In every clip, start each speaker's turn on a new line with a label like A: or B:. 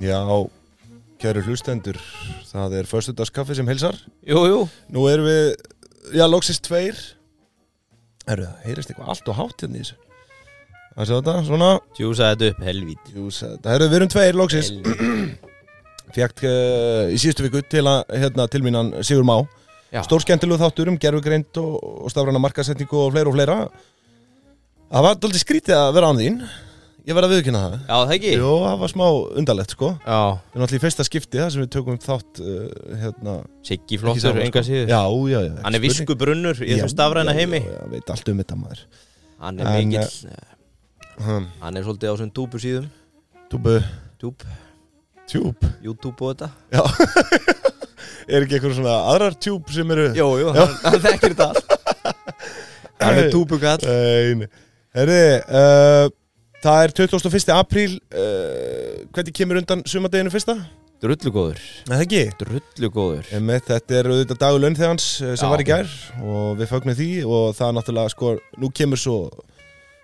A: Já, kæru hlustendur, það er Föstudagskaffi sem hilsar.
B: Jú, jú,
A: Nú erum við, já, loksist tveir. Herru, það heyrist eitthvað allt og hátt hérna í þessu. Það séu þetta, svona.
B: djúsa þetta upp helvít
A: Jú, það herru, við erum tveir, loksist.
B: Helvíti.
A: Fjagt uh, í síðustu viku til að, hérna, til mínan Sigur Má.
B: Já.
A: Stórskemmtilegu þáttur um gerfugreind og, og stafræna markasetningu og fleira og fleira. Það var daldið skrítið að vera án þín. Ég verð að viðkynna það.
B: Já, það ekki?
A: Jó, það var smá undarlegt, sko.
B: Já,
A: Það er náttúrulega í fyrsta skipti það sem við tökum þátt uh, hérna
B: Siggi
A: ekki
B: flottur,
A: saman,
B: enga síður
A: Já, já, já
B: Hann er
A: ekki
B: visku
A: spurning.
B: brunnur í
A: Já,
B: þessum stafræna
A: já,
B: heimi
A: Já, já, veit allt um þetta maður
B: Hann er
A: En,
B: mikill, eh,
A: hmm.
B: hann er svolítið á svona túbu síðum
A: Túbu
B: Túp,
A: Tjúb
B: YouTube og þetta
A: Já Er ekki eitthvað svona aðrar tjúb sem eru
B: Jó, jú, hann, hann þekkir þetta allt Hann er túbukall
A: Nein Herri uh, Það er 21. apríl uh, Hvernig kemur undan sumardeginu fyrsta?
B: Drullugóður,
A: Nei, það ekki
B: drullugóður
A: Emmett, þetta er auðvitað dagur launþegans eh, sem
B: Já.
A: var í gær og við fagnum því og það er náttúrulega sko, nú kemur svo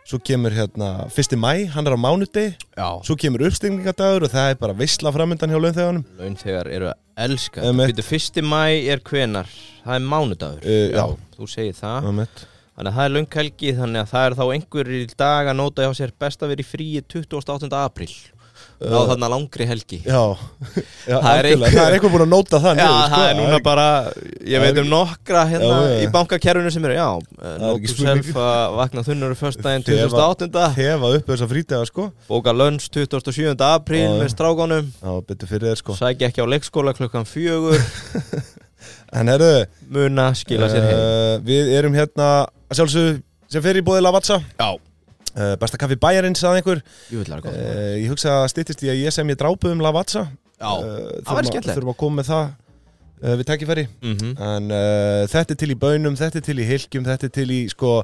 A: svo kemur hérna 1. mæ, hann er á mánuti
B: Já,
A: svo kemur uppstingingadagur og það er bara veisla framöndan hjá launþeganum
B: launþegar eru að elska
A: Emmett.
B: Þetta fyrsti mæ er hvenar, það er mánudagur
A: Eh, já.
B: Þú segir það
A: Emmett,
B: Þannig að það er lönghelgi þannig að það er þá einhverjir í dag að nóta hjá sér best að vera í fríi 28. apríl Ná
A: Uh,
B: þarna langri helgi Já,
A: já, já
B: Það er
A: algjörlega.
B: einhver-
A: það er eitthvað búin að nóta það niður, sko.
B: það er núna bara, ég
A: það
B: veit
A: er-
B: um nokkra hérna
A: Já, já, já.
B: í bankakerfinu sem eru Já, uh,
A: er ekki
B: nótu
A: spurning.
B: self að eh, vakna þunnur fyrstdæðin
A: Þefa-
B: 2008.
A: hefa upp þessa frítega sko
B: Bóka lönns 27. apríl
A: Já, já.
B: með strákonum
A: já, betur fyrir þér sko
B: Sækja ekki á leikskóla klukkan fjögur
A: en herru,
B: Muna skila sér heim
A: eh, við erum hérna að sjálfsög sem fer í bóði Lavazza
B: Já,
A: uh, besta kaffi bæjarins að einhver
B: júvillar góð
A: Uh, ég hugsa að styttist í að ég sem ég drápu um Lavazza
B: Já,
A: Eh,
B: það væri
A: þurfum að-
B: skemmtilegt.
A: Þurfum að koma með það uh, við tækifæri
B: mhm
A: En uh, þetta er til í bönum, þetta er til í hilkjum, þetta er til í sko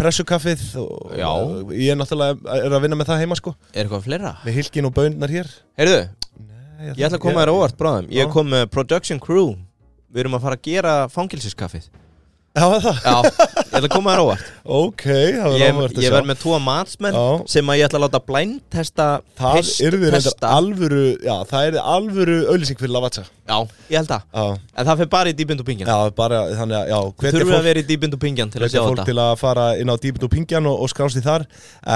A: pressukaffið og,
B: Já.
A: og Ég er náttúrulega er að vinna með það heima sko
B: Er eitthvað fleira?
A: Með hilkin og bönnar hér
B: Heyrðu,
A: Nei,
B: Ég ætla að koma þér á óvart bráðum Ég
A: Já.
B: kom með Production Crew Við erum að fara að gera fangilsiskaffið
A: Já, var það,
B: Já, ég ætla að koma þér á óvart
A: ok, það var
B: Ég,
A: áhvert að
B: ég verð
A: sjá
B: með tvo matsmenn
A: Já.
B: Sem að ég ætla að láta blindtesta
A: Það yrði reyndar
B: pisttesta.
A: alvöru, já, það yrði alvöru auðlýsing fyrir Lavazza
B: Já, ég held það
A: Já,
B: En það fyrir bara í dýbind og pingjan
A: já, bara, þannig að, já, hvetja
B: Þurfum
A: fólk
B: að vera í dýbind og pingjan til að sjá
A: hvetja fólk
B: þetta
A: til að fara inn á dýpin og pingjan og, og skrást í þar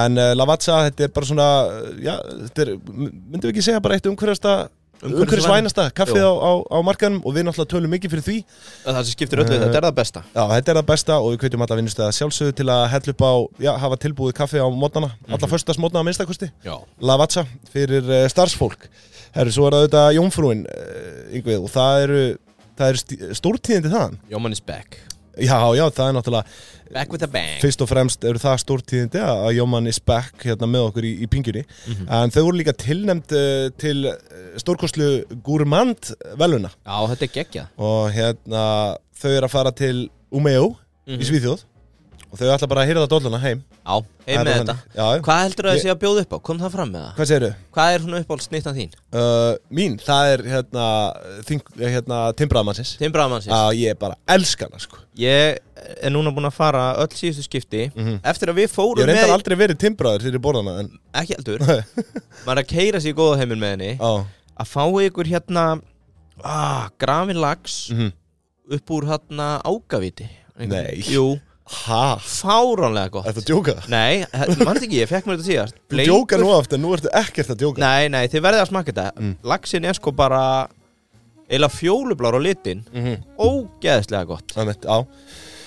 A: en uh, Lavazza, þetta er bara svona uh, já, þetta er, m- myndum við ekki segja bara eitt umhverjasta
B: Umhverfisvæn-
A: umhverjasvænasta kaffið
B: Jú.
A: á, á, á markanum og við náttúrulega tölum mikið fyrir því já,
B: Það sem skiptir öllu,
A: Eh,
B: þetta er það besta
A: þetta er það besta og við hvetjum alla vinnustöða sjálfsögðu til að hella upp á, já, hafa tilbúið kaffi á mótnana,
B: Mhm.
A: alla förstas mótnana að minnstakosti
B: Já
A: Lavazza fyrir uh, starfsfólk herru, svo er það auðvitað Jónfrúin uh, Yngvið, og það eru það eru stí- stórtíðindi þaðan
B: Jóman is back
A: já, já, það er náttúrulega
B: Back with a bang
A: fyrst og fremst eru það stórtíðindi að að Jóman is back hérna með okkur í, í pingjunni
B: Mhm.
A: en þau voru líka tilnæmt uh, til eh, stórkostlu Gourmand veluna
B: Já, þetta er geggjað
A: og hérna þau eru að fara til Umeå
B: Mhm.
A: í Svíþjóð og þau ætla bara að hýrða dolluna heim
B: Já, heim
A: Það
B: með
A: er
B: þetta
A: bara þannig. Já,
B: Hvað heldur að
A: Ég-
B: þessi að bjóða upp á? Kom það fram með það?
A: hvað segirðu?
B: Hvað er hún uppáhaldsnýttan þín?
A: Uh, mín, það er hérna, þing, hérna timbraðmannsins
B: Tim Bramansins
A: að ég bara elska hana sko
B: Ég er núna búinn að fara öll síðustu skipti Eftir að
A: Mhm.
B: við
A: Ég
B: fórum
A: reyndar
B: með
A: aldrei verið timbraður þegar ég borða hana en,
B: Ekki heldur Maður er að keira sér í góða heiminn með henni
A: á,
B: Að fá ykkur hérna ah, Grafin lags
A: Mhm.
B: Upp úr hérna ágaviti
A: Nei.
B: Jú,
A: ha,
B: fáránlega gott
A: þetta djóka
B: Nei, mannst ekki, ég fekk mér þetta síðast
A: Þú djóka nú Mm. aftur, nú ertu ekkert að djóka
B: Nei, nei, þið verðið að smaka þetta Laxinn er sko bara Eila fjólublar á litin
A: Mhm.
B: Ógeðslega gott
A: Þannig, já,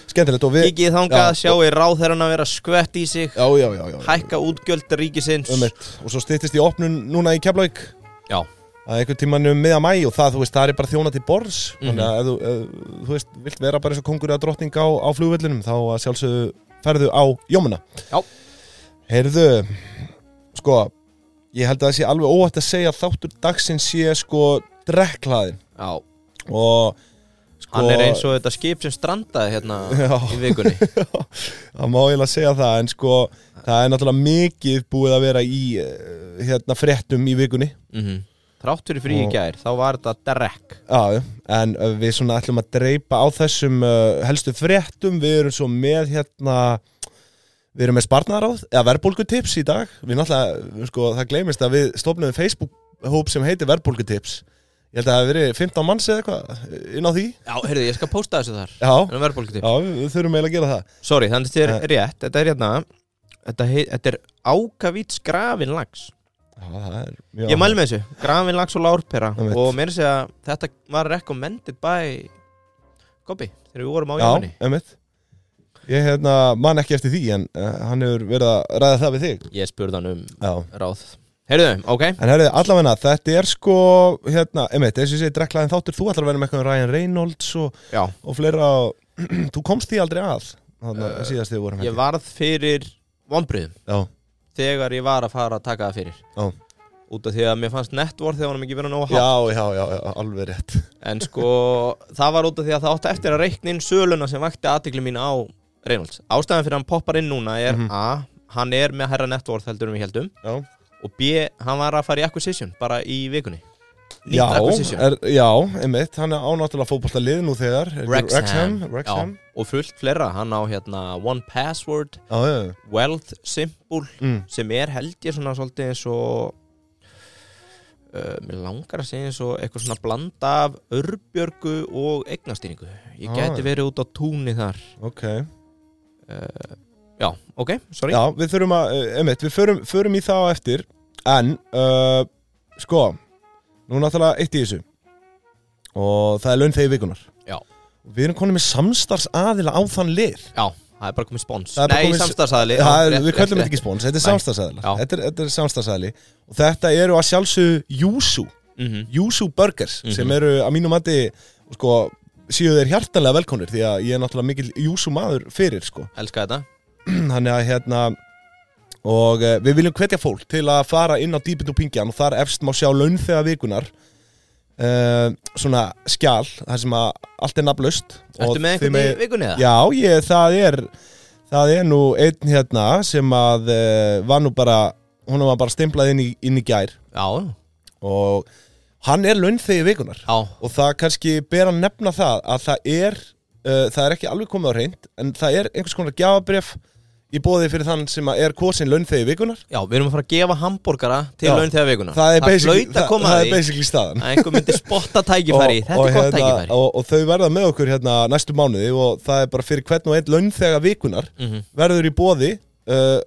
A: skemmtilegt og við
B: Kikið þangað,
A: Já,
B: sjáu ráðherran að vera skvett í sig
A: Já, já, já, já
B: hækka útgjöld ríkisins
A: Ömmit, og svo styttist í opnun núna í Keflavík
B: Já,
A: að einhvern tímann um miða mæ og það, þú veist, það er bara þjóna til borðs
B: Mhm.
A: þannig að ef þú, ef, þú veist, vilt vera bara eins og kongur eða drottning á, á flugvellinum þá að sjálfsögðu ferðu á jómuna
B: Já.
A: Heyrðu, sko ég held að það sé alveg óætt að segja að þáttur dagsins sé sko drekklaðin
B: já
A: og sko
B: Hann er eins og þetta skip sem strandaði hérna
A: Já.
B: í vikunni
A: það má eiginlega segja það en sko það er náttúrulega mikið búið að vera í eh, hérna fréttum í vikunni
B: mm Þrátt fyrir frí í
A: Og-
B: gær, þá var þetta drekk
A: Já, já. en eh, við svona ætlum uh, að dreipa á þessum uh, helstu fréttum við erum svo með hérna Við erum með sparnaráð, eða verðbólgutips í dag Við náttúrulega, sko, það gleymist að við stofnum Facebook-hóp sem heitir verðbólgutips Ég held að það hafi verið 15 manns eða eitthvað uh, inn á því
B: Já, heyrðu, ég skal posta þessu þar
A: Já,
B: En verðbólkutip
A: já við við þurfum eiginlega að gera það
B: Sorry, þannig þetta
A: Nei.
B: er rétt Þetta er hérna Þetta, hei, þetta er ákavít grafin lags
A: Já, það er mjög
B: Ég mæli með þessu Grafin lags og lárpera
A: Ég veit.
B: Og mér sé að þetta var recommended by Kobi Þegar við vorum á
A: Já,
B: jámanni
A: emmitt Ég hérna, man ekki eftir því en uh, hann hefur verið að ræða það við þig
B: Ég spurði hann um
A: Já
B: ráð Heyrðu, ok
A: En herrið, allavegna, þetta er sko, hérna, einmitt, eins og ég segi, drekklaðin þáttur, þú ætlar að vera með eitthvað um Ryan Reynolds og,
B: Já,
A: og fleira, og þú komst því aldrei að, þannig að
B: Eh,
A: síðast þið vorum
B: ég varð fyrir vonbriðum
A: Já,
B: Þegar ég var að fara að taka það fyrir
A: Já.
B: Út af því að mér fannst networth Þegar hann ekki verið nóg hátt
A: já, já, já, já, alveg rétt
B: En sko, það var út af því að það átti eftir að reikna inn söluna sem vakti aðtikli mín á Reynolds. Ástæðan fyrir að hann poppar inn núna er
A: Mhm.
B: A. Hann er með herra networth heldur um við heldum
A: Já,
B: og B. Hann var að fara í acquisition bara í vikunni. Nýtt
A: já,
B: acquisition.
A: er, já einmitt, hann er ánáttúrulega fótbolta lið nú þegar
B: Wrexham,
A: Rexham,
B: Já, og fullt fleira. Hann á hérna One Password,
A: já, já, já.
B: Wealth Symbol
A: Mm.
B: sem er held ég svona svolítið eins og uh, mér langar að segja eins og eitthvað svona blanda af örbjörgu og eignastýringu. Ég
A: Ah,
B: gæti
A: já.
B: verið út á túnni þar.
A: ok
B: uh, Já, ok, sorry
A: Já, við þurfum að, eh, einmitt, við förum, förum í það á eftir En, uh, sko, nú er náttúrulega eitt í þessu Og það er laun þegar vikunar
B: Já.
A: Og Við erum konið með samstars aðila á þann lið
B: Já, það er bara komið spons
A: Það er bara
B: Nei,
A: komið-
B: samstarfsaðli já,
A: Það er,
B: rétt,
A: við
B: rétt,
A: köllum þetta
B: rétt.
A: ekki spóns, þetta er
B: Nei.
A: samstagsæðilega
B: Já.
A: þetta, er- þetta er samstagsæðili Og þetta eru að sjálfsögðu Júsú
B: Mhm.
A: Júsú Burgers
B: Mhm.
A: sem eru að mínu mati sko, síðu þeir hjartanlega velkonir því að ég er náttúrulega mikil Júsú maður fyrir sko.
B: Elska þetta
A: þannig að hérna og uh, við viljum hvetja fólk til að fara inn á dýpind og pingjan og þar efst má sjá launþega vikunar uh, svona skjal þar sem að allt er nafnlaust
B: Ertu með einhvern í vikunni það?
A: Já, ég, það er það er nú einn hérna sem að uh, var nú bara hún var bara stimplað inn í, inn í gær
B: já,
A: og hann er launþegi vikunar
B: já,
A: og það kannski ber að nefna það að það er, uh, það er ekki alveg komið á reynd en það er einhvers konar gjafabref í bóði fyrir þann sem að er kosin launþegi vikunar
B: já, við erum að fara að gefa hambúrgara til
A: Já.
B: laun þegar vikuna
A: það er basically,
B: hlaut að
A: það,
B: koma
A: það
B: að
A: er
B: því
A: basically staðan
B: að einhver myndi spotta tækifæri Þetta er gott tækifæri
A: og, hérna- og þau verða með okkur hérna næstu mánuði og það er bara fyrir hvern og einn launþega vikunar
B: Mhm.
A: verður í bóði uh,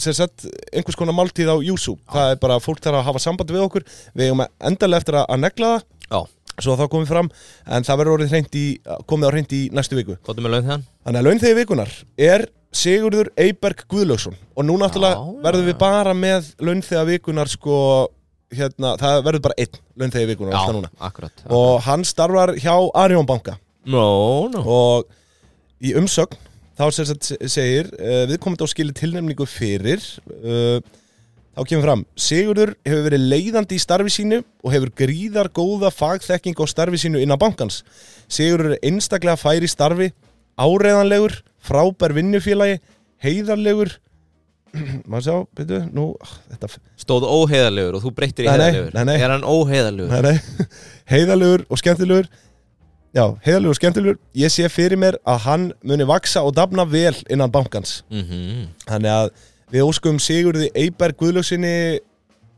A: sem sett einhvers konar máltíð á YouTube það er bara fólk þarf að hafa samband við okkur við eigum endalega eftir að- að negla það
B: Já,
A: svo að það komið fram en það verður orðið hreint í, komið á reynd í næstu viku
B: gottum við laun þegar
A: Þannig að launþegi vikunar er Sigurður Eyberg Guðlaugsson og nú náttúrulega
B: Já, já.
A: verðum við bara með launþegi vikunar sko hérna, það verður bara einn launþegi vikunar alltaf núna
B: akkurat
A: og hann starfar hjá Arjón banka
B: Nó, nó
A: og í umsögn þá sem sagt segir uh, viðkomandi á skili tilnefningu fyrir uh, þá kemur fram Sigurður hefur verið leiðandi í starfi sínu og hefur gríðar góða fagþekking á starfi sínu innan bankans Sigurður er einstaklega fær í starfi áreðanlegur, frábær vinnufélagi heiðarlegur maður sá, byrju, nú ah, þetta,
B: Stóð óheiðarlegur og þú breyttir í
A: Nei, nei,
B: heiðarlegur
A: nei, nei.
B: Er hann óheiðarlegur?
A: nei, nei, heiðarlegur og skemmtilegur já, heiðarlegur og skemmtilegur ég sé fyrir mér að hann muni vaksa og dafna vel innan bankans
B: Mhm.
A: Þannig að við óskum Sigurði Eyberg Guðlöksinni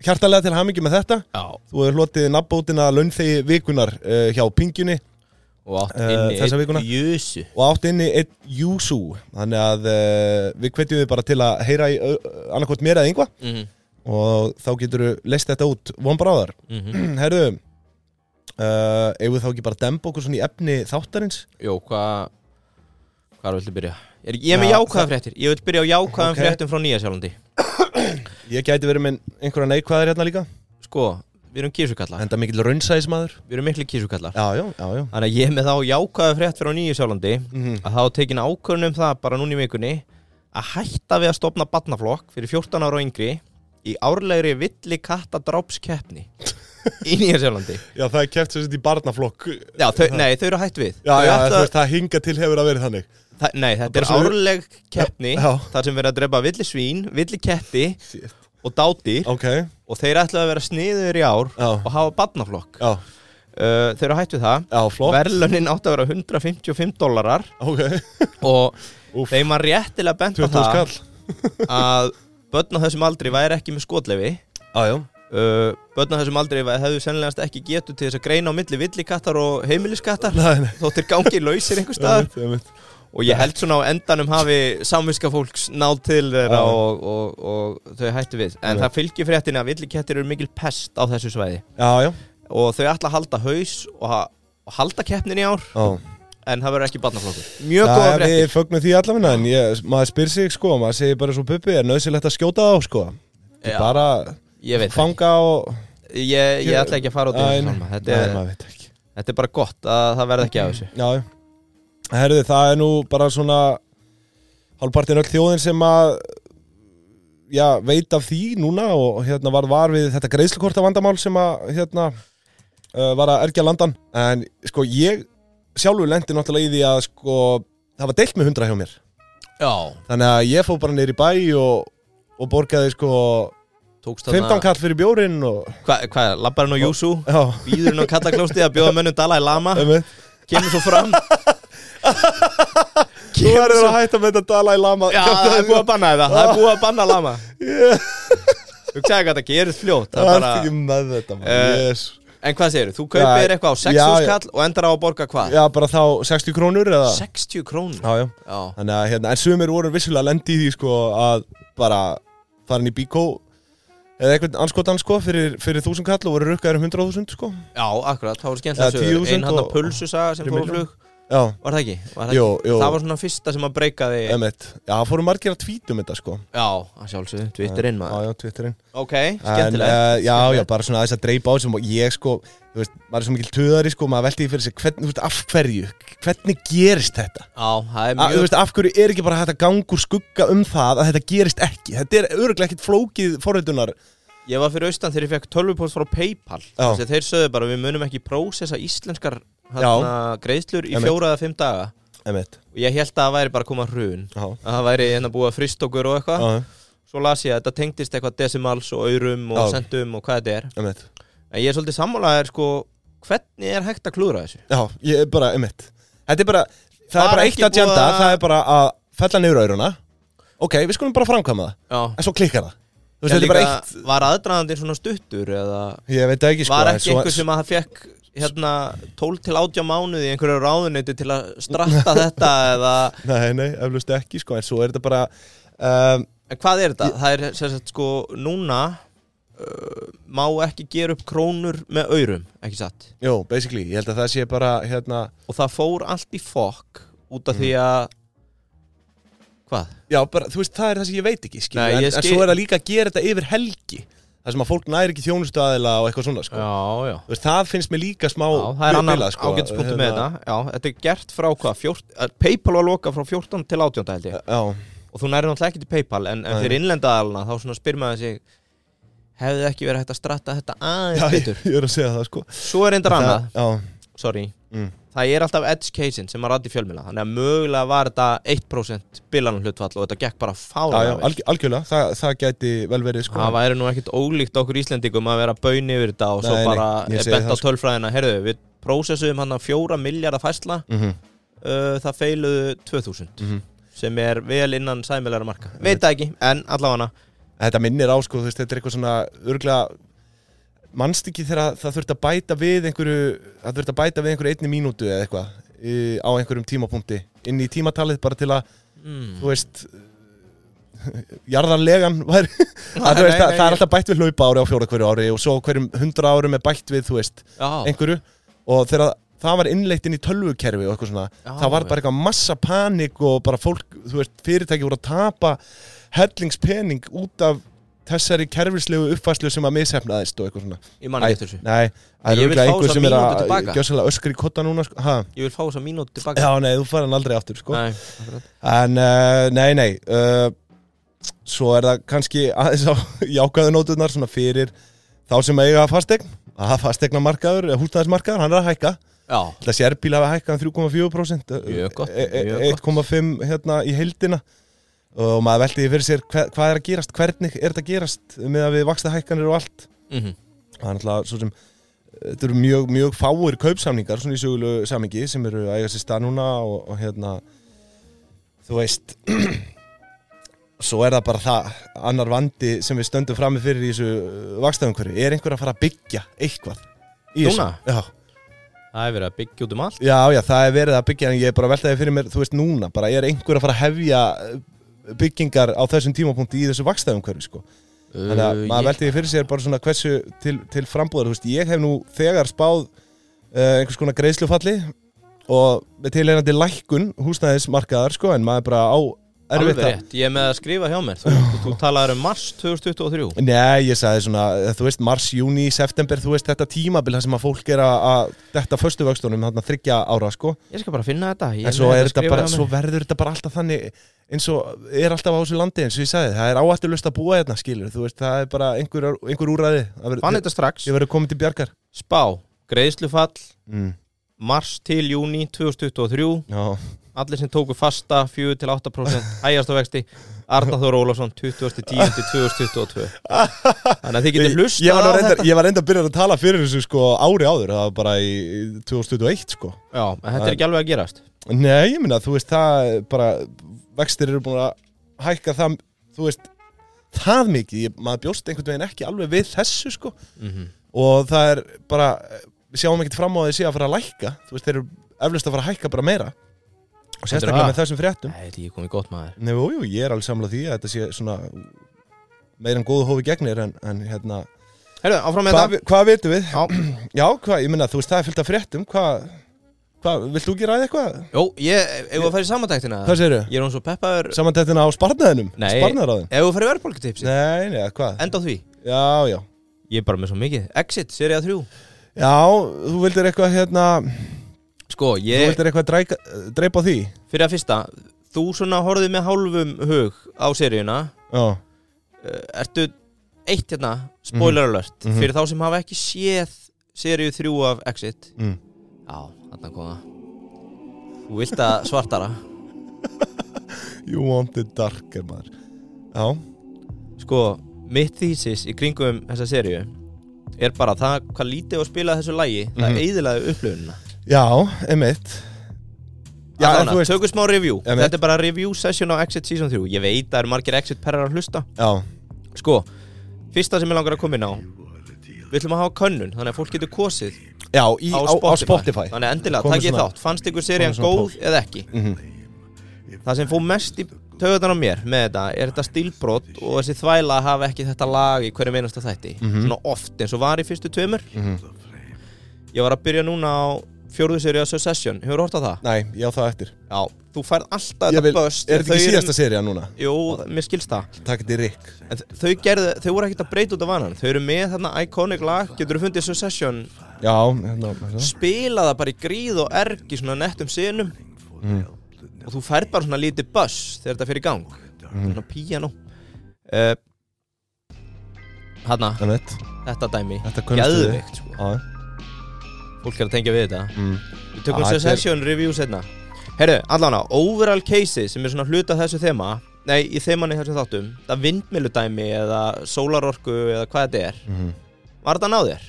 A: hjartalega til hamingi með þetta.
B: Já,
A: Þú hefur hlotið nafnbótina launþegi vikunar uh, hjá Pingjunni
B: og átt
A: Eh,
B: inni
A: þessa
B: einn
A: vikuna?
B: Jösu
A: og átt inni einn Júsú. Þannig að uh, við hvetjum við bara til að heyra í uh, annarkvort mér eða yngva
B: Mhm,
A: og þá getur þú leist þetta út von bráðar.
B: mhm.
A: Herðu, uh, eigum við þá ekki bara að demba okkur svona í efni þáttarins?
B: Jó, hvað Hvað viltu byrja? Er, ég er með
A: Já,
B: jákvæðan fréttir Ég vil byrja á jákvæðan
A: Ok.
B: fréttum frá Nýja Sjálandi
A: Ég gæti verið með einhverja neikvæðar hérna líka,
B: Sko, við erum kísukallar
A: enda mikill raunsæðismadur.
B: Við erum miklu kísukallar
A: Já, já, já, já.
B: Þannig að ég er með þá jákvæðan frétt frá Nýja Sjálandi
A: Mhm.
B: að þá tekin ákvörðun um það bara núna í vikunni að hætta við að stopna batnaflokk fyrir 14 ára og yngri í árlegri villi katta drápskeppni í Nýja Sjálandi
A: Já, það er kæft sem sett í barnaflokk
B: Já, þau, nei, þau eru hætt við
A: Já,
B: Þau
A: já,
B: ætla-
A: þú veist, það hinga til hefur að vera þannig
B: það, Nei, þetta
A: Bara
B: er
A: svo við-
B: árleg keppni
A: Já.
B: þar sem verið að drepa villi svín, villi ketti og dátir
A: Ok,
B: og þeir ætlaðu að vera sniður í ár
A: Já.
B: og hafa barnaflokk
A: já,
B: uh, þeir eru hætt við það
A: já, flott
B: verðlunin átti að vera 155 dólarar
A: Ok,
B: og
A: Úff.
B: þeim var réttilega bent á
A: 20
B: það
A: skall
B: að börn á þessum aldri væri ekki með skotleifi
A: Ájá
B: uh, börn á þessum aldri væ- hefðu sennilegast ekki getu til þess að greina á milli villikattar og heimiliskattar
A: Nei, nei
B: þóttir gangið lausir einhver staðar
A: Einmitt, einmitt.
B: og ég held svona á endanum hafi samviska fólks náð til þeirra
A: Já.
B: og, og, og þau hættu við en
A: Já.
B: það fylgir fréttinni að villikettir eru mikil pest á þessu svæði
A: Já, já
B: og þau ætla að halda haus og, ha og halda keppnin í ár
A: Já.
B: en það verður ekki barnaflokkur mjög
A: Já,
B: góða fréttir
A: við fögnum því allavega en ég, maður spyr sig sko, maður segir bara svo Bubbi, er nöðsilegt að skjóta þá sko
B: Já.
A: bara
B: ég veit það.
A: fanga og
B: ég, ég ætla ekki að fara út í
A: Æ,
B: þessu
A: nei.
B: Salma. þetta,
A: Nei,
B: er-
A: maður veit ekki
B: þetta er bara gott að það verði ekki af þessu
A: Já, já. herðu, það er nú bara svona hálfpartin öll þjóðin sem að já, veit af því núna og hérna var var við þetta greiðslukorta vandamál sem að hérna uh, var að ergja landan en sko ég sjálfur lendi náttúrulega í því að sko það var deilt með hundra hjá mér
B: já,
A: þannig að ég fór bara neyri bæ og, og borgaði sko
B: tókst
A: 15
B: þarna
A: kall fyrir bjórin og
B: hvað, hva, labbarinn og Júsú
A: já,
B: býðurinn og kallaklósti að bjóða mönnum Dalai Lama
A: einmitt.
B: kemur svo fram
A: þú
B: kemur
A: verður
B: svo
A: að hætta með þetta Dalai Lama
B: Já, það er búið að banna það, það er búið að banna lama
A: yeah.
B: Hugsaðu hvað það gerist fljótt
A: það
B: það
A: er
B: bara...
A: ekki með þetta uh,
B: Eh,
A: yes.
B: En hvað segir, þú
A: Já,
B: kaupir þér eitthvað á
A: já,
B: 60
A: já.
B: skall og endar á að borga hvað?
A: já, bara þá 60 krónur eða
B: 60 krónur?
A: já, já.
B: Já,
A: þannig að hérna, en sumir voru vissulega lendi í því sko að bara farin í bíkó eða einhvern anskotan sko fyrir, fyrir 1000 kall og voru rukkaður um 100.000 sko
B: já akkurat, það voru
A: Já,
B: skemmtilega sögur
A: 10.000
B: Ein hann að
A: og-
B: pulsusaga
A: Fyrir
B: sem fór á
A: milljón.
B: flug
A: já,
B: Var það ekki? Var það,
A: jú,
B: ekki?
A: jú
B: það var svona fyrsta sem að breyka þig
A: Emmett, já, það fóru margir að tvítum þetta sko
B: Já, að sjálfsögðu, Twitter inn maður
A: Já, já, Twitterinn
B: Ok,
A: En,
B: skemmtilegt
A: eh, Já, já,
B: Skemmtilegt.
A: bara svona aðeins að dreipa á þessum og ég sko, þú veist, maður er svo mikil töðari sko, maður velti því fyrir sig, hvern, þú veist, af hverju hvernig gerist þetta?
B: Já, það
A: Að,
B: er
A: Ah, þú
B: mjög
A: veist, af hverju er ekki bara hægt að ganga úr skugga um það að þetta gerist ekki? Þetta er öruglega ekkit flókið forröldunar
B: Ég var fyrir austan þegar ég fekk 12 post frá Paypal
A: Já.
B: Þessi þeir sögðu bara, við munum ekki prósessa íslenskar hana,
A: Já.
B: greiðslur í
A: Einmitt.
B: fjóra eða fimm daga
A: Emmett,
B: og ég held að það væri bara að koma hrun
A: já,
B: að það væri hérna búið að frist okkur og eitthvað
A: já,
B: svo las ég að þetta tengdist eitthvað desimals og aurum og
A: Já.
B: sentum og hvað þetta er
A: Emmett
B: en ég er svolítið sammálaðir sko hvernig er hægt að klúra þessu
A: Já, ég er bara, Emmett Þetta er bara, það
B: Var
A: er bara
B: ekki
A: eitt agenda,
B: búið að-
A: það er bara að fella niður auruna Ok, við skulum bara framkvæma það,
B: Já,
A: en svo klikkar það Þú veist,
B: En
A: þetta er bara
B: líka,
A: eitt
B: Var aðdraðandinn svona stuttur eða
A: Ég veit það ekki sko
B: var
A: en
B: ekki
A: svo-
B: einhver sem að það fekk hérna 12 til 18 mánuði í einhverju ráðuneyti til að stratta þetta eða
A: Nei, nei, eflust ekki sko, en svo er þetta bara um,
B: En hvað er þetta? Það er sem sagt sko núna uh, má ekki gera upp krónur með aurum, ekki satt?
A: Jó, basically, ég held að það sé bara hérna,
B: Og það fór allt í fokk út
A: Mm.
B: af því að Hvað?
A: Já, bara, þú veist, það er það sem ég veit ekki skil,
B: Nei,
A: en,
B: ég
A: en
B: skil-
A: svo er það líka að gera þetta yfir helgi Það sem að fólk næri ekki þjónustu aðila og eitthvað svona sko.
B: Já, já
A: Þú veist, það finnst mér líka smá
B: það er annar
A: bilað, sko,
B: ágætspunktur með þetta Já, þetta er gert frá hvað? Fjort, að Paypal var lokað frá 14 til 18 held ég
A: Já,
B: Og þú næri náttúrulega ekki til Paypal En, en
A: Eh. Nei.
B: fyrir innlendaðalina þá svona spyr maður sig Hefði ekki verið hægt að stratta þetta
A: já
B: aðeins
A: ég,
B: betur
A: ég er að segja það sko
B: Svo er reyndar annað
A: Já,
B: Sorry
A: mm,
B: það er alltaf edge case-in sem að ræði fjölmjöla þannig að mögulega var þetta 1% bilanum hlutfall og þetta gekk bara
A: já, já
B: fára
A: alg, algjörlega, það, það gæti vel verið sko
B: það væri nú ekkit ólíkt okkur Íslendingum að vera baun yfir þetta og svo
A: Nei, nei,
B: bara
A: ég
B: er
A: segi
B: bent
A: það, sko.
B: á tölfræðina herðu, við prósessuðum hann að fjóra miljardar fæsla
A: mm -hmm.
B: uh, það feiluðu 2000
A: Mhm.
B: sem er vel innan sæmilæra marka veit það ekki, en allavega
A: þetta minnir á sko, þú veist, þetta er eitthvað svona örgulega mannst ekki þegar það þurft að bæta við einhverju það þurft að bæta við einhverju einni mínútu eða eitthvað í- á einhverjum tímapunkti inn í tímatalið bara til að,
B: mm.
A: þú veist jarðarlegan var, að, þú veist, að,
B: Nei, nei, nei,
A: það er
B: ég-
A: alltaf bætt við hlaupa ári á fjóra hverju ári og svo hverjum hundra árum er bætt við, þú veist,
B: já,
A: einhverju og þegar það var innleitt inn í tölvukerfi og eitthvað svona,
B: Já,
A: það var
B: já.
A: bara eitthvað massa panik og bara fólk, þú veist, fyrirtæki voru að tapa hellingspening út af þessari kerfislegu uppfæslu sem að mishefnaðist og eitthvað svona
B: ég man
A: Æ,
B: ekki eftir þessu
A: Nei, það
B: Ég
A: er
B: vil fá
A: auðvitað einhver
B: þessa
A: sem er
B: mínútu
A: að
B: tilbaka.
A: gjössalega öskri í kotta núna sko. ha,
B: ég vil fá þess að mínúti tilbaka
A: Já, nei, þú fara hann aldrei aftur sko.
B: Nei, akkurat.
A: En, uh, nei, nei uh, Svo er það kannski aðeins á jákaðu nótunar svona fyrir þá sem eiga fastegn að fastegnamarkaður, eða húsnæðismarkaður, hann er að hækka
B: já,
A: Það sérbíl hafa hækkað um 3,4%
B: Mjög gott,
A: e- e-
B: mjög
A: 1,5 hérna í heildina og maður veldi því fyrir sér hva, hvað er að gerast, hvernig er þetta að gerast með að við vaksta hækkanir og allt
B: mm -hmm.
A: það er náttúrulega svo sem eh, þetta eru mjög, mjög fáir kaupsamningar svona í sögulegu samingi sem eru að eiga sér stað núna og, og hérna þú veist svo er það bara það annar vandi sem við stöndum frammi fyrir í þessu vakstæðumhverju, er einhver að fara að byggja eitthvað í þessu?
B: Núna?
A: Já.
B: Það er verið að byggja út um allt
A: já, já, það er verið að byggja en ég er bara að veltaði fyrir mér, þú veist núna bara er einhver að fara að hefja uh, byggingar á þessum tímapunkti í þessu vakstæðumhverju sko.
B: Uh,
A: þannig að maður velti því fyrir sér bara svona hversu til, til frambúðar, þú veist, ég hef nú þegar spáð uh, einhvers konar greiðslufalli og með tilhengandi lækkun húsnæðismarkaðar sko, en maður bara á
B: Alveg
A: erfitt að-
B: rétt, ég er með að skrifa hjá mér Þú, þú talaður um mars 2023
A: Nei, ég sagði svona, eh, þú veist, mars, júni, september, þú veist, þetta tímabil þar sem að fólk er að, að þetta föstu vöxtunum, þannig að þryggja ára, sko.
B: Ég skal bara finna þetta Ég
A: En svo,
B: með
A: er
B: að
A: þetta
B: skrifa
A: bara,
B: hjá mér.
A: svo verður þetta bara alltaf þannig, eins og er alltaf á þessu landi, eins og ég sagði, það er áættilust að búa hérna, skilur, þú veist, það er bara einhver, einhver úræði. Það
B: Fann
A: Verður,
B: þetta strax
A: ég verður komið til bjargar.
B: Spá, greiðslufall,
A: Mm.
B: mars til júni 2023
A: Já,
B: Allir sem tóku fasta 4-8% hægjast á vexti Arna Þór Ólafsson 20.10.2022 Þannig að þið
A: ég,
B: getur hlusta
A: ég var nú reyndar, ég var reyndar að byrja að tala fyrir þessu, sko, ári áður, það var bara í í 2021, sko.
B: Já, en þetta er ekki alveg að gerast
A: Nei, ég minna, þú veist, það er bara, vextir eru búin að hækka það, þú veist, það mikið, ég, maður bjóst einhvern veginn ekki alveg við þessu, sko, og það er bara, við sjáum ekkert fram á því að fara að lækka, þú veist, þeir eru eflust að fara að hækka bara meira, og sérstaklega
B: það?
A: með þessum fréttum.
B: Nei, þetta er ekki komið gott maður
A: Nei, jú, jú, ég er alveg samlað því að þetta sé svona meira en góðu hófi gegnir, en, en hérna,
B: Herru, áfram með
A: hvað,
B: þetta
A: vi- hvað vitum við?
B: Já.
A: Já, hvað, ég minna, þú veist, það er fyllt af fréttum, hvað, hvað, vilt þú ekki ræða eitthvað?
B: Jó, ég, ef við að fara í samantæktina
A: Hvað segirðu?
B: Ég er hún svo peppaður
A: Samantættina á sparnaðinum?
B: Nei.
A: Sparnaðaráðin?
B: Ef við að fara í verðbólkutipsi
A: Nei, nei, hvað?
B: Enda á því
A: Já, já
B: Ég er bara með svo mikið Exit, seria 3
A: Já, þú vildir eitthvað hérna
B: Sko,
A: Þú
B: ég,
A: vildir eitthvað dreika, dreipa á því?
B: fyrir að fyrsta Þú svona horfið með hálfum hug á seríuna
A: Já,
B: Eh, Ertu eitt hérna Spoiler alert
A: Mhm.
B: Fyrir þá sem hafa ekki séð seríu 3 af Exit
A: mm.
B: Já, þarna kom það Þú vilt að svartara
A: You want it darker, maður Já,
B: Sko, mitt þýsis í kringum þessa seríu Er bara það hvað lítið var að spila þessu lægi Það
A: Mhm.
B: eiðilaði upplöfunina
A: já, emitt Já, en
B: Allána,
A: þú veist
B: tökum smá review
A: Ég veit.
B: Þetta er bara review session á Exit Season 3 Ég veit að það eru margir Exit perrar að hlusta
A: Já,
B: Sko, fyrsta sem ég langar að koma inn á Við ætlum að hafa könnun Þannig að fólk getur kosið
A: já í,
B: á,
A: á, á,
B: Spotify.
A: Spotify
B: Þannig að endilega,
A: Komum
B: takk ég
A: svona-
B: þátt Fannst ykkur serían
A: komum svona
B: góð eða ekki
A: Mhm.
B: Það sem fór mest í töðan á mér með þetta Er þetta stílbrot og þessi þvæla að hafa ekki þetta lag í hverju meinasta þætti Svona oft eins og var í fyrstu tveimur
A: Mhm.
B: Ég var að byrja núna á fjórðu seríu á Succession Hefur hort á það?
A: Nei, já, það eftir
B: Já, þú færð alltaf
A: Ég
B: þetta
A: vil,
B: böst
A: Er þetta
B: Þau
A: ekki
B: eru-
A: síðasta seria núna?
B: Jú, mér skilst það
A: Takk þetta í Rick
B: En þ- þau, gerðu, þau voru ekkert að breyta út af vanan Þau eru með þarna iconic lag Getur þú fundið Succession
A: Já, hérna hérna.
B: Spila það bara í gríð og erg Í svona nettum sinum
A: Mm.
B: Og þú færð bara svona lítið buss Þegar þetta fyrir gang
A: Mm.
B: Svona piano uh, Hanna,
A: Emitt
B: þetta dæmi
A: Þetta kunnstu við.
B: Gæðveikt sko
A: Já,
B: Fólk er að tengja við þetta
A: mm.
B: Við tökum
A: Ah, þetta er-
B: Succession review setna Herru, allána, overall cases sem er svona hluta af þessu þema Nei, í þemanni þessu þáttum Það vindmiludæmi eða sólarorku eða hvað þetta er
A: Mhm.
B: Var þetta náðir?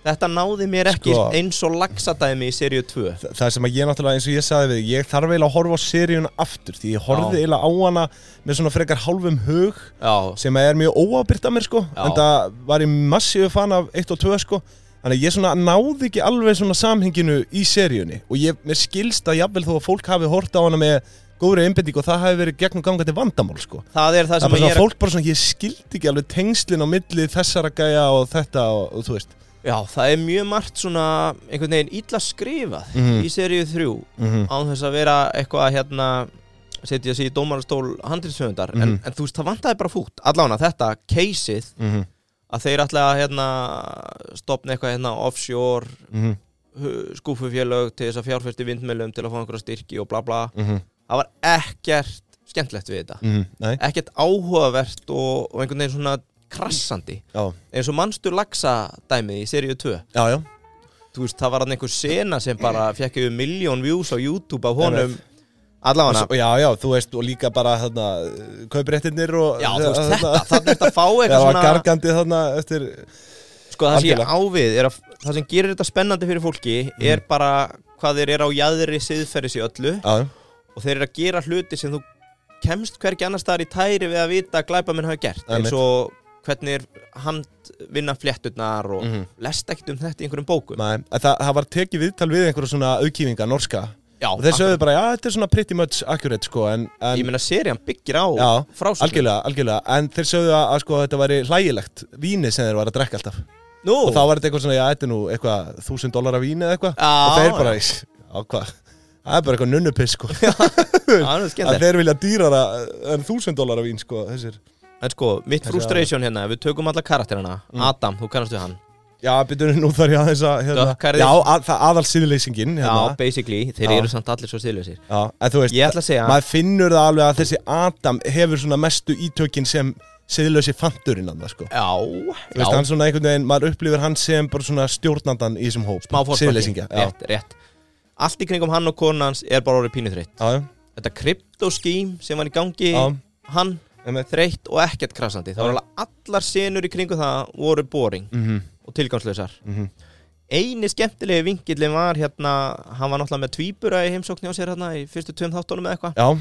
B: Þetta náði mér ekki
A: Sko-
B: eins og laxadæmi í seríu 2
A: Þa- það sem að ég náttúrulega eins og ég saði við ég þarf eiginlega að horfa á seríuna aftur því ég horfði
B: Já.
A: eiginlega á hana með svona frekar hálfum hug
B: Já,
A: sem að er mjög óábyrgt af mér sko
B: Já.
A: en það var ég massíu fan af 1 og 2 sko þannig að ég svona náði ekki alveg svona samhenginu í seríunni og ég, mér skilst að jafnvel þó að fólk hafi hort á hana með góðri einbindík og það hafi verið gegnum gangandi vandamál sko
B: það er það
A: það er bara
B: sem ég
A: svona
B: er að...
A: fólk bara svona ég skildi ekki alveg tengslin á milli þessara gæja og þetta og, og þú veist
B: Já, það er mjög margt svona einhvern veginn illa skrifað
A: Mhm.
B: í seríu 3
A: mm -hmm.
B: án þess að vera eitthvað að hérna setja sig í dómarastól handriðsöfundar en,
A: Mhm.
B: en þú veist, það vantaði bara fút allána þetta, caseið að þeir ætla að hérna, stopna eitthvað hérna, offshore
A: Mhm.
B: hu- skúfufélög til þess að fjárfesti vindmjölum til að fá einhverja styrki og bla bla
A: Mhm.
B: það var ekkert skemmtlegt við þetta
A: Nei,
B: ekkert áhugavert og, og einhvern veginn svona krassandi
A: já,
B: eins og mannstu laxadæmið í seríu 2
A: já, já
B: þú veist, það var hann einhver sena sem bara fekk yfir miljón views á YouTube af honum
A: Og
B: allavega
A: svo, já, já, þú veist, og líka bara þarna, kaupréttinir og
B: Já, þú veist,
A: þarna-
B: þetta, þarna ert að fá eitthvað
A: Það var
B: svona
A: gargandi þarna eftir
B: Sko, það sem ég
A: algjörlega. Mm.
B: ávið er að það sem gerir þetta spennandi fyrir fólki er bara hvað þeir eru á jæðri siðferðis í öllu
A: Já,
B: og þeir eru að gera hluti sem þú kemst hvergi annars staðar í tæri við að vita að glæpamenn hafa gert
A: Einmitt.
B: eins og hvernig er handvinna flétturnar og
A: Mhm.
B: lest ekkert um þetta í einhverjum bókum
A: Nei, en það, það var tekið viðtal við einhverja svona auðkýfinga, norska
B: Já,
A: og þeir
B: akkurat.
A: sögðu bara, já, þetta er svona pretty much accurate sko, en,
B: ég
A: en
B: meina serían byggir á
A: Já,
B: frásögnum
A: algjörlega, algjörlega, en þeir sögðu að, að sko, þetta væri hlægilegt víni sem þeir var að drekka alltaf
B: Nú,
A: og þá var þetta eitthvað svona, já, þetta er nú eitthvað þúsund dólar af víni eða eitthvað
B: Já,
A: og þeir bara,
B: já.
A: "Ís, á hvað, það er bara eitthvað nunnupiss sko,
B: það er
A: að
B: skemmt
A: þeir vilja dýrara eh, en þúsund dólar af vín sko, þessir
B: En sko, mitt
A: Þessi
B: frustration hérna, ef við tökum alla karakterina
A: Mm.
B: Adam, þú kannast við hann
A: Já, byrjum nú þar ég aðeins að hérna,
B: Dökkhærðir.
A: Já, að, það aðal síðleysingin
B: Já,
A: hérna.
B: basically, þeir
A: Já.
B: eru samt allir svo stilvísir
A: já, en þú veist
B: Ég ætla að segja
A: maður finnur það alveg að þessi Adam hefur svona mestu ítökin sem siðlösi fanturinn annað sko
B: Já,
A: Þú veist, hann svona einhvern veginn, maður upplifir hann sem bara svona stjórnandan í þessum hóp
B: smá fórspakking
A: Siðleysingja, já.
B: rétt, rétt allt í kringum hann og konans er bara orðið pínu þreytt
A: Já, já,
B: þetta kryptoskím sem var í gangi
A: já,
B: hann
A: einmitt.
B: þreytt og ekkert krasandi þá
A: Já.
B: var alveg allar senur í kringum það voru boring
A: Mhm,
B: og tilgangslausar
A: mhm.
B: eini skemmtilegi vingillin var hérna hann var náttúrulega með tvíbura í heimsókn hjá sér hérna í fyrstu tveim þáttunum eða eitthvað
A: já,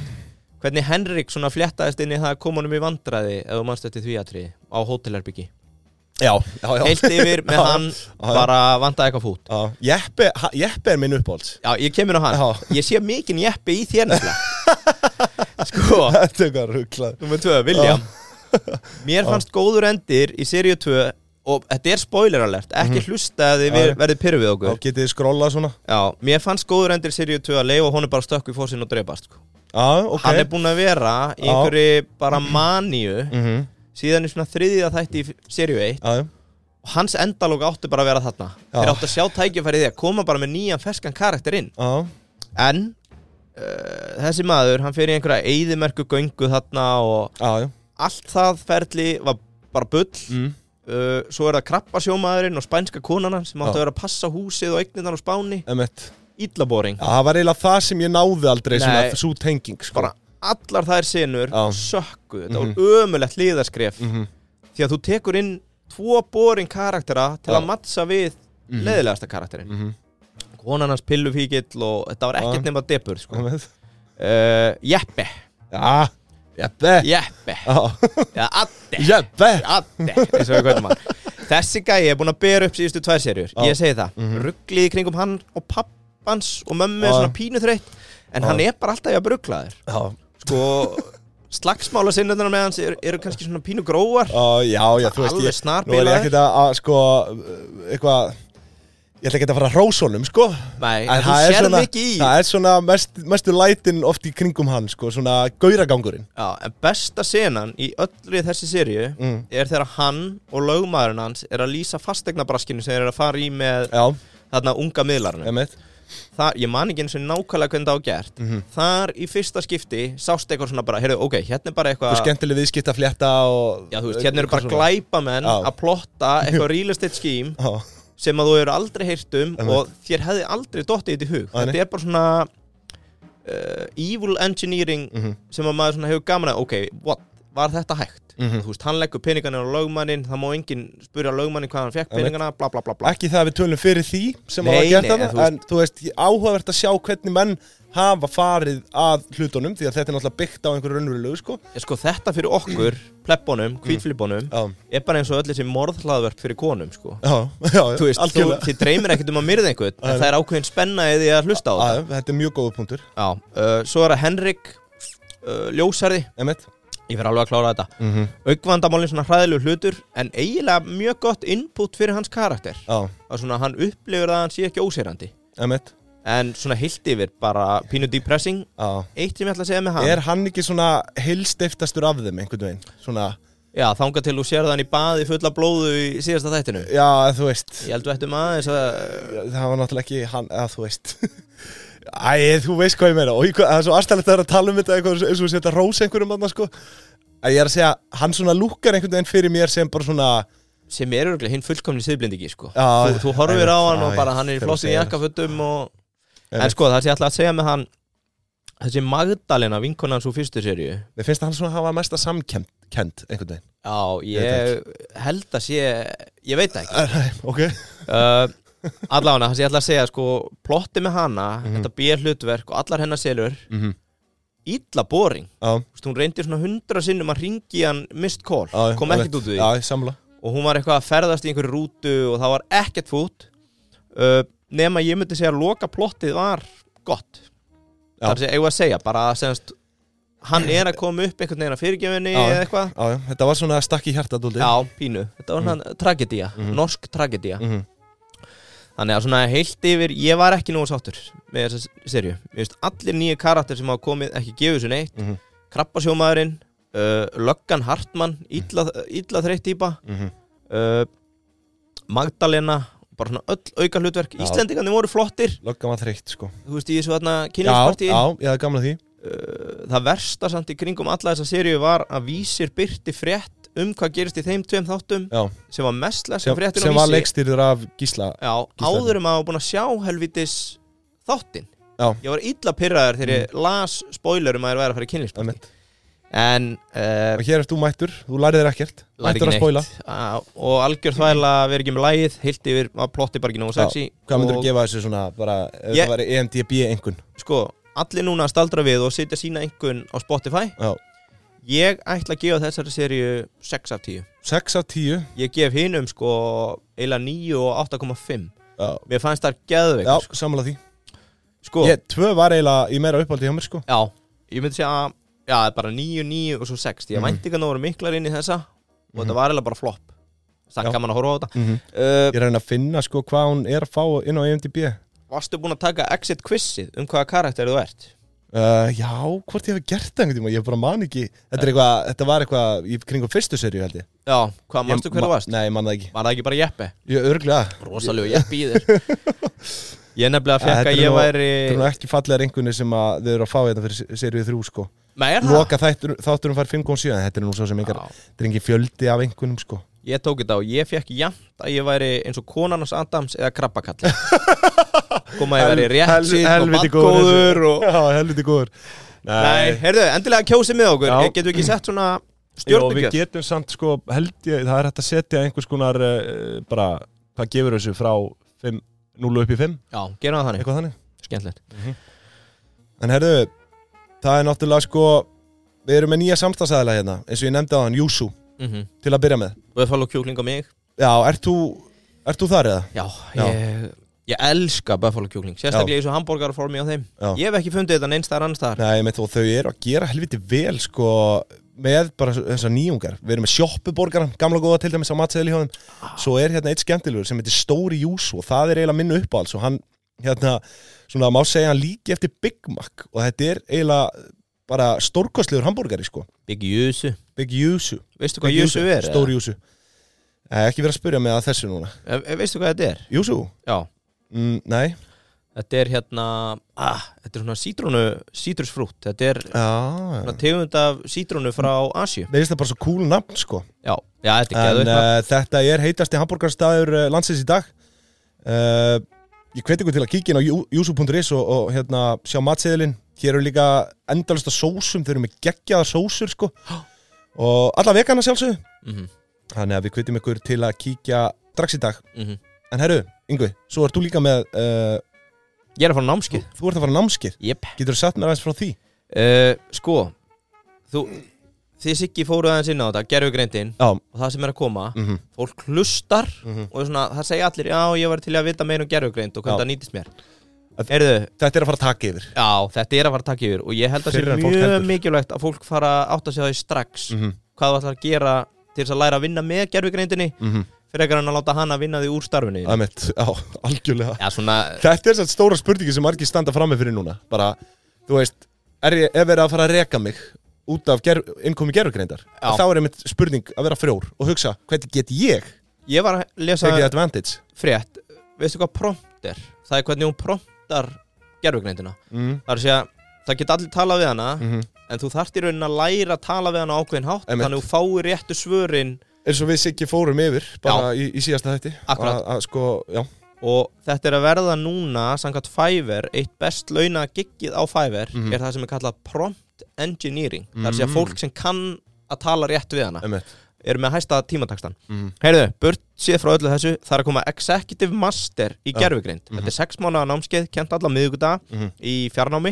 B: hvernig Henrik svona fléttaðist inn í það að koma honum í vandræði eða mannst eftir því aðtriði á hótelherbyggi
A: já, já, já.
B: heilt yfir með
A: Já,
B: hann
A: já.
B: bara vandaði eitthvað fút
A: já. Jeppe, ha- Jeppe er minn uppáhalds
B: Já, ég kemur á hann
A: Já.
B: Ég sé mikinn jeppi í þér nefnilega Sko,
A: Þetta er eitthvað rugglað
B: nummer 2, William Mér fannst góður endir í seríu 2 Og þetta er spoiler alert Ekki hlusta að þið ver,
A: Mhm. Já.
B: verðið pyrru við
A: Þá
B: okkur
A: getið þið skrollað svona
B: Já, mér fannst góður endir í seríu 2 að leifa Hún er bara stökk við fósinn og dreipast sko.
A: Já, ok
B: Hann er búinn að vera í
A: Já.
B: einhverju bara maníu
A: Mhm,
B: Síðan í svona þriðja þætti í seríu 1
A: Já, já,
B: Og hans endalók áttu bara að vera þarna
A: Já.
B: Þeir áttu að sjá tækifærið því að koma bara með nýjan ferskan karakter inn
A: já,
B: En uh, þessi maður, hann fer í einhverja eyðimerku göngu þarna og
A: já, já
B: allt það ferli var bara bull
A: Mm.
B: uh, Svo er það krabbasjómaðurinn og spænska konana sem
A: Já.
B: átti að vera að passa húsið og eignirnar á Spáni
A: Einmitt.
B: Íllaboring
A: Já, Það var eiginlega það sem ég náði aldrei
B: Nei.
A: svona svo tenging sko.
B: Bara allar þær senur
A: Já.
B: sökku Þetta
A: Mhm.
B: var ömulegt liðaskref
A: Mhm,
B: Því að þú tekur inn tvo boring karaktera til
A: Já.
B: að mattsa við
A: mhm,
B: leðilegasta karakterinn
A: mhm,
B: Konan hans pillufíkill og þetta var ekkert
A: Já. Mhm.
B: nema depur sko.
A: einmitt.
B: uh, Jeppe
A: Já, Jeppe
B: Jeppe
A: Já,
B: Eða Adde
A: Jeppe
B: Adde, eins og við kvöldum hann Þessi gæi er búin að bera upp síðustu tvær serjur
A: Já.
B: Ég segi það, mm
A: Mhm.
B: rugglið í kringum hann og pappans og mömmu er
A: Já.
B: svona pínu þreytt En
A: Já.
B: hann er bara alltaf jafn rugglaður
A: Já,
B: Sko, slagsmála sinnundarnar með hans eru, eru kannski svona pínu gróar
A: Ó, já, já, þú veist ég,
B: Alveg
A: Nú er ég
B: snarbilaður
A: ekkert að, að sko, uh, eitthvað Ég ætla ekki að fara að rása honum, sko
B: Nei,
A: En
B: en þú
A: er
B: sérð
A: svona,
B: mikið í
A: það er svona mest, mestu lætin oft í kringum hann, sko Svona gauragangurinn
B: Já, en besta senan í öllri þessi serju
A: Mm.
B: Er þegar hann og lögmaðurinn hans er að lýsa fastegnabraskinu sem þeir eru að fara í með
A: Já,
B: þarna unga miðlarnum
A: emitt
B: þar, ég man ekki eins og nákvæmlega hvernig það á gert
A: Mhm.
B: þar í fyrsta skipti sást eitthvað svona bara, heyrðu, ok, hérna er bara
A: Þú
B: eitthvað
A: skemmtileg viðskipta flétta og
B: já, þú veist, hérna eru bara
A: eitthvað
B: glæpamenn
A: Já.
B: að plotta eitthvað real estate scheme
A: svona.
B: sem að þú eru aldrei heyrt um
A: Einmitt.
B: og þér hefði aldrei dottið þetta í hug
A: Nei, nei.
B: þetta er bara svona uh, evil engineering
A: Mhm.
B: sem að maður svona hefur gaman að, ok, what, var þetta hægt
A: Mhm.
B: þú veist, hann leggur peningarnir á lögmannin það má enginn spyrja lögmannin hvað hann fekk
A: Einmitt.
B: peningana, bla bla bla
A: Já.
B: bla
A: Ekki það að við tölum fyrir því sem
B: Nei,
A: hafa gert
B: nei, en
A: það
B: þú veist-
A: En þú veist, ég- áhugavert að sjá hvernig menn hafa farið að hlutunum Því að þetta er náttúrulega byggt á einhverju raunverulegu, sko
B: sko þetta fyrir okkur, plebbonum, hvítflibonum
A: Já,
B: er bara eins og öll þessi morðhlaðverk fyrir konum sko.
A: já, já,
B: þú veist, þú,
A: algjörlega
B: þið dreymir ekkert um að myrða einhvern en það er ákveðin spenna eða því að hlusta á
A: Já,
B: það
A: já, Þetta er mjög góða punktur
B: Já, uh, svo er það Henrik uh, ljósarði,
A: Emmett
B: ég fyrir alveg að klára þetta
A: mm -hmm.
B: aukvandamálin svona hræðilegu hlutur en eiginlega mjög gott input fyrir hans karakter
A: Já,
B: að svona hann upplifur það að hann sé ekki óseirandi
A: emmett
B: en svona heilt yfir bara pínu depressing
A: Já
B: eitt sem ég ætla að segja með hann
A: Er hann ekki svona heilstiftastur af þeim einhvern veginn? Svona,
B: já, þanga til þú sérði hann í baði fulla blóðu í síðasta þættinu
A: já, þú veist
B: ég held við ættum aðeins að
A: Það var náttúrulega ekki hann, eða þú veist Æ, þú veist hvað ég meina Og ég, það er svo aðstæðlegt að vera að tala um þetta eitthvað, eins og setja rós einhverjum annars sko Að ég er að segja, hann svona lúkkar einhvern veginn fyrir mér sem bara svona
B: sem er örgulega hinn fullkomni siðblindingi sko.
A: Já,
B: þú, þú horfir
A: já,
B: á hann og
A: já,
B: bara
A: já,
B: hann er í
A: þegar
B: flottin
A: þú segir
B: jakkafötum og...
A: Ég
B: en
A: veit.
B: sko það sem ég ætla að segja með hann þessi Magdalena vinkonan svo fyrstu serju
A: Mér finnst að hann svona hafa mesta samkend kend, einhvern veginn
B: já
A: Ég
B: ég held að sé ég veit það ekki
A: Æ, Ok
B: uh,
A: Mhm.
B: allavega það sem ég ætla að segja sko plotti með hana þetta bér hlutverk og allar hennar selur
A: mm -hmm.
B: illa boring
A: já,
B: Þú veist, hún reyndi svona hundra sinnum að ringi hann mist call,
A: já,
B: kom
A: alveg.
B: ekkert út úr því
A: Já, ég samla
B: og hún var eitthvað að ferðast í einhverju rútu og það var ekkert fút uh, nema ég myndi segja að loka plottið var gott
A: Já.
B: þar sem ég var að segja bara að semst hann er að koma upp einhvern veginn að fyrirgefinni
A: Já.
B: eða eitthvað
A: Já, já, þetta var svona að stakki í hjarta dóldi
B: Já, pínu, þetta
A: Mm.
B: var hann tragedía, norsk tragedía
A: Mhm.
B: Þannig að svona heilt yfir, ég var ekki nógu sáttur með þessa serju Mér veist, allir nýju karakter sem hafa komið, ekki gefið sér neitt
A: Mhm.
B: Krabbasjómaðurinn, uh, Löggan Hartmann, illa, illa þreytt típa
A: Mhm.
B: uh, Magdalena, bara svona öll auka hlutverk
A: Já.
B: Íslendingarnir voru flottir,
A: Loggan var þreytt, sko
B: þú veist, í þessu þarna
A: Já,
B: kynlífspartíi
A: já, ég hafði gamla því
B: uh, það versta samt í kringum alla þessa seríu var að vísir byrti frétt um hvað gerist í þeim tveim þáttum
A: Já.
B: sem var mestlega sem
A: sem,
B: fréttir
A: sem
B: á
A: var
B: vísi
A: leikstýrður af Gísla
B: já,
A: Gísla.
B: áður um að hafa búin að sjá helvitis þáttin
A: Já. Mm.
B: ég var illa pyrraður þegar ég las spoiler um að það er að fara í kynlífsparti
A: Einmitt.
B: en uh,
A: Og hér ert þú mættur, þú lærið þér ekkert Mættur að spoila
B: á, og algjör þvæla að vera ekki með lægið heilt yfir að plotti bara ekki nógu
A: Já,
B: sexy
A: Hvað myndir
B: og-
A: að gefa þessu svona bara ef
B: Ég-
A: það væri E EMDB einhvern
B: sko, allir núna að staldra við og setja sína einhvern á Spotify
A: Já.
B: ég ætla að gefa þessari seríu 6 af 10
A: 6 af 10
B: ég gef hinum sko eiginlega 9 og 8,5
A: Já,
B: mér fannst það geðveik
A: já
B: sko.
A: samla því
B: sko,
A: Ég, tvö var eiginlega í meira uppáldi hjá mér sko
B: já, ég myndi segja að já, bara 9, 9 og svo 6 ég
A: Mhm.
B: vænti ekki að það voru miklar inn í þessa og
A: Mhm.
B: þetta var eiginlega bara flopp það
A: Já.
B: er gaman að horfa á þetta
A: -hmm.
B: uh,
A: Ég reyna að finna sko hvað hún er að fá inn á E EMDB
B: varstu búin að taka exit quizið um hvaða karakter þú ert
A: Uh, já, hvort ég hef gert það einhvern tíma, ég bara man ekki Þetta,
B: Eh.
A: er eitthvað, þetta var eitthvað í kringum fyrstu serju held ég
B: já, hvað mannstu
A: Ég
B: hver
A: ma-
B: þú varst
A: Nei, ég man það ekki
B: var það ekki bara jeppi
A: Ég örglega,
B: rosalega jeppi í þér ég
A: Ja,
B: nefnilega fekk
A: þetta er
B: að ég
A: nú-
B: væri
A: þetta er nú ekki fallegar einhvernir sem að þau eru að fá þetta fyrir serju þrjú sko
B: Nei, er það?
A: Loka þættur, þátturum fær 5.7 en Þetta er nú svo sem einhver,
B: Já.
A: þetta er engin fjöldi af einhvernum sko
B: Ég tók þetta og ég fekk jafnt að ég væri eins og konarnas Adams eða krabbakall Kom að ég væri rétt
A: Hel-
B: sítt og
A: helviti góður
B: badgóður og...
A: Já, helviti góður
B: Nei, heyrðu, endilega kjósið með okkur
A: Já.
B: Getum við ekki sett svona
A: Jó, við
B: stjórnugjöf
A: getum samt sko held ég, það er hægt að setja einhvers konar uh, bara, hvað gefur þessu frá 5, 0 upp í 5,
B: Já, gerum það þannig,
A: eitthvað þannig
B: skemmtilegt
A: En herðu, það er náttúrulega sko við erum með nýja samstagsæðila hérna eins og ég nefndi á hann, Júsú,
B: mm -hmm.
A: til að byrja með
B: Buffalo kjúkling á mig
A: Já, ert þú, ert þú þar eða?
B: Já, ég, ég elska Buffalo kjúkling Sérstaklega í þessu hambúrgar á þeim
A: Já.
B: Ég hef ekki fundið þetta neins þar annars þar
A: Nei, með þú, þau eru að gera helviti vel sko með bara þessar nýjungar við erum með sjoppuborgaran, gamla góða til dæmis á matseðli hjá
B: Ah.
A: þeim svo er hérna eitt skemmtilegur sem heitir Stóri Júsú og það er eiginlega minn uppáhalds og hann, hérna, svona má segja hann líki eftir Big Mac og þetta er eiginlega bara stórkostlegur hambúrgari sko,
B: Big Júsu
A: Big Júsú
B: Veistu hvað Júsu er? eða?
A: Stóri Júsú Nei, ekki vera að spyrja mig að þessu núna
B: Eh, eh, Veistu hvað þetta er?
A: Júsú?
B: Já,
A: Mm, nei
B: þetta er hérna ah, Þetta er svona sítrónu, sítrusfrútt Þetta er
A: Já,
B: svona tegund af sítrónu frá Asju
A: Mér finnst það bara svo cool nafn sko
B: Já, já þetta er
A: En
B: geðveikt nafn.
A: uh, þetta er heitasti hambúrgarstaður uh, landsins í dag uh, Ég hveti ykkur til að kíkja inn á júsu.is og, og hérna, sjá matseðilinn Hér eru líka endalasta sósum, þeir eru með geggjaða sósur sko Og alla vegana sjálfsögðu
B: Mhm,
A: Þannig að við hvetjum ykkur til að kíkja strax í dag
B: mhm.
A: En herru, Yngvi, svo ert þú líka með uh,
B: Ég er að fara á námskeið
A: Þú ert að fara námskir
B: Jep
A: Getur þú satt mér aðeins frá því?
B: uh, Sko Þú Þið sikki fóruð aðeins inn á þetta Gerðu greindin
A: Já,
B: Og það sem er að koma
A: mhm,
B: Fólk hlustar
A: mhm
B: Og er svona, það segja allir Já, ég var til í að vita meira um gerðu Og
A: Já.
B: hvernig það nýtist mér
A: Að-
B: Heyrðu
A: Þetta er að fara að taka yfir
B: Já, þetta er að fara að taka yfir Og ég held að
A: Fyrr
B: sé
A: en fólk
B: mjög
A: heldur.
B: mikilvægt Að fólk fara að átta sig á því strax
A: mm -hmm.
B: Hvað það ætlar að gera Til þess að læra að vinna með gerðu greindinni
A: Mm -hmm.
B: Frekar en að láta hana vinna því úr starfinu þínu.
A: já, algjörlega
B: Já, svona
A: Þetta er satt stóra spurningi sem margir standa frammi fyrir núna Bara, þú veist, er ég ef verið að fara að reka mig út af ger, innkomi gerugreindar
B: Já.
A: Þá er einmitt spurning að vera frjór og hugsa, hvernig get ég
B: Ég var að lesa
A: tekið advantage
B: frétt veistu hvað prompt er? Það er hvernig hún promptar gerfugneindina
A: mm.
B: það er að segja, það geta allir talað við hana
A: Mm
B: en þú þarft í raunin að læra að tala við hana á ákveðin hátt
A: Einmitt.
B: þannig að þú fáir réttu svörin
A: Eins og við Siggi fórum yfir bara í, í síðasta þætti
B: Akkúrat.
A: Að- að sko, já,
B: og þetta er að verða núna samkvæmt Fiverr, eitt best launa giggið á Fiverr
A: Mhm. Mm.
B: er það sem er kallað prompt engineering það er að segja fólk sem kann að tala rétt við hana
A: einmitt
B: eru með hæsta tímatakstan
A: mm.
B: Heyrðu, burt séð frá öllu þessu Það er að koma Executive Master í
A: Já.
B: gerfugrind Þetta er sex mánuða námskeið, kent alla miðugudag
A: Mhm.
B: í fjarnámi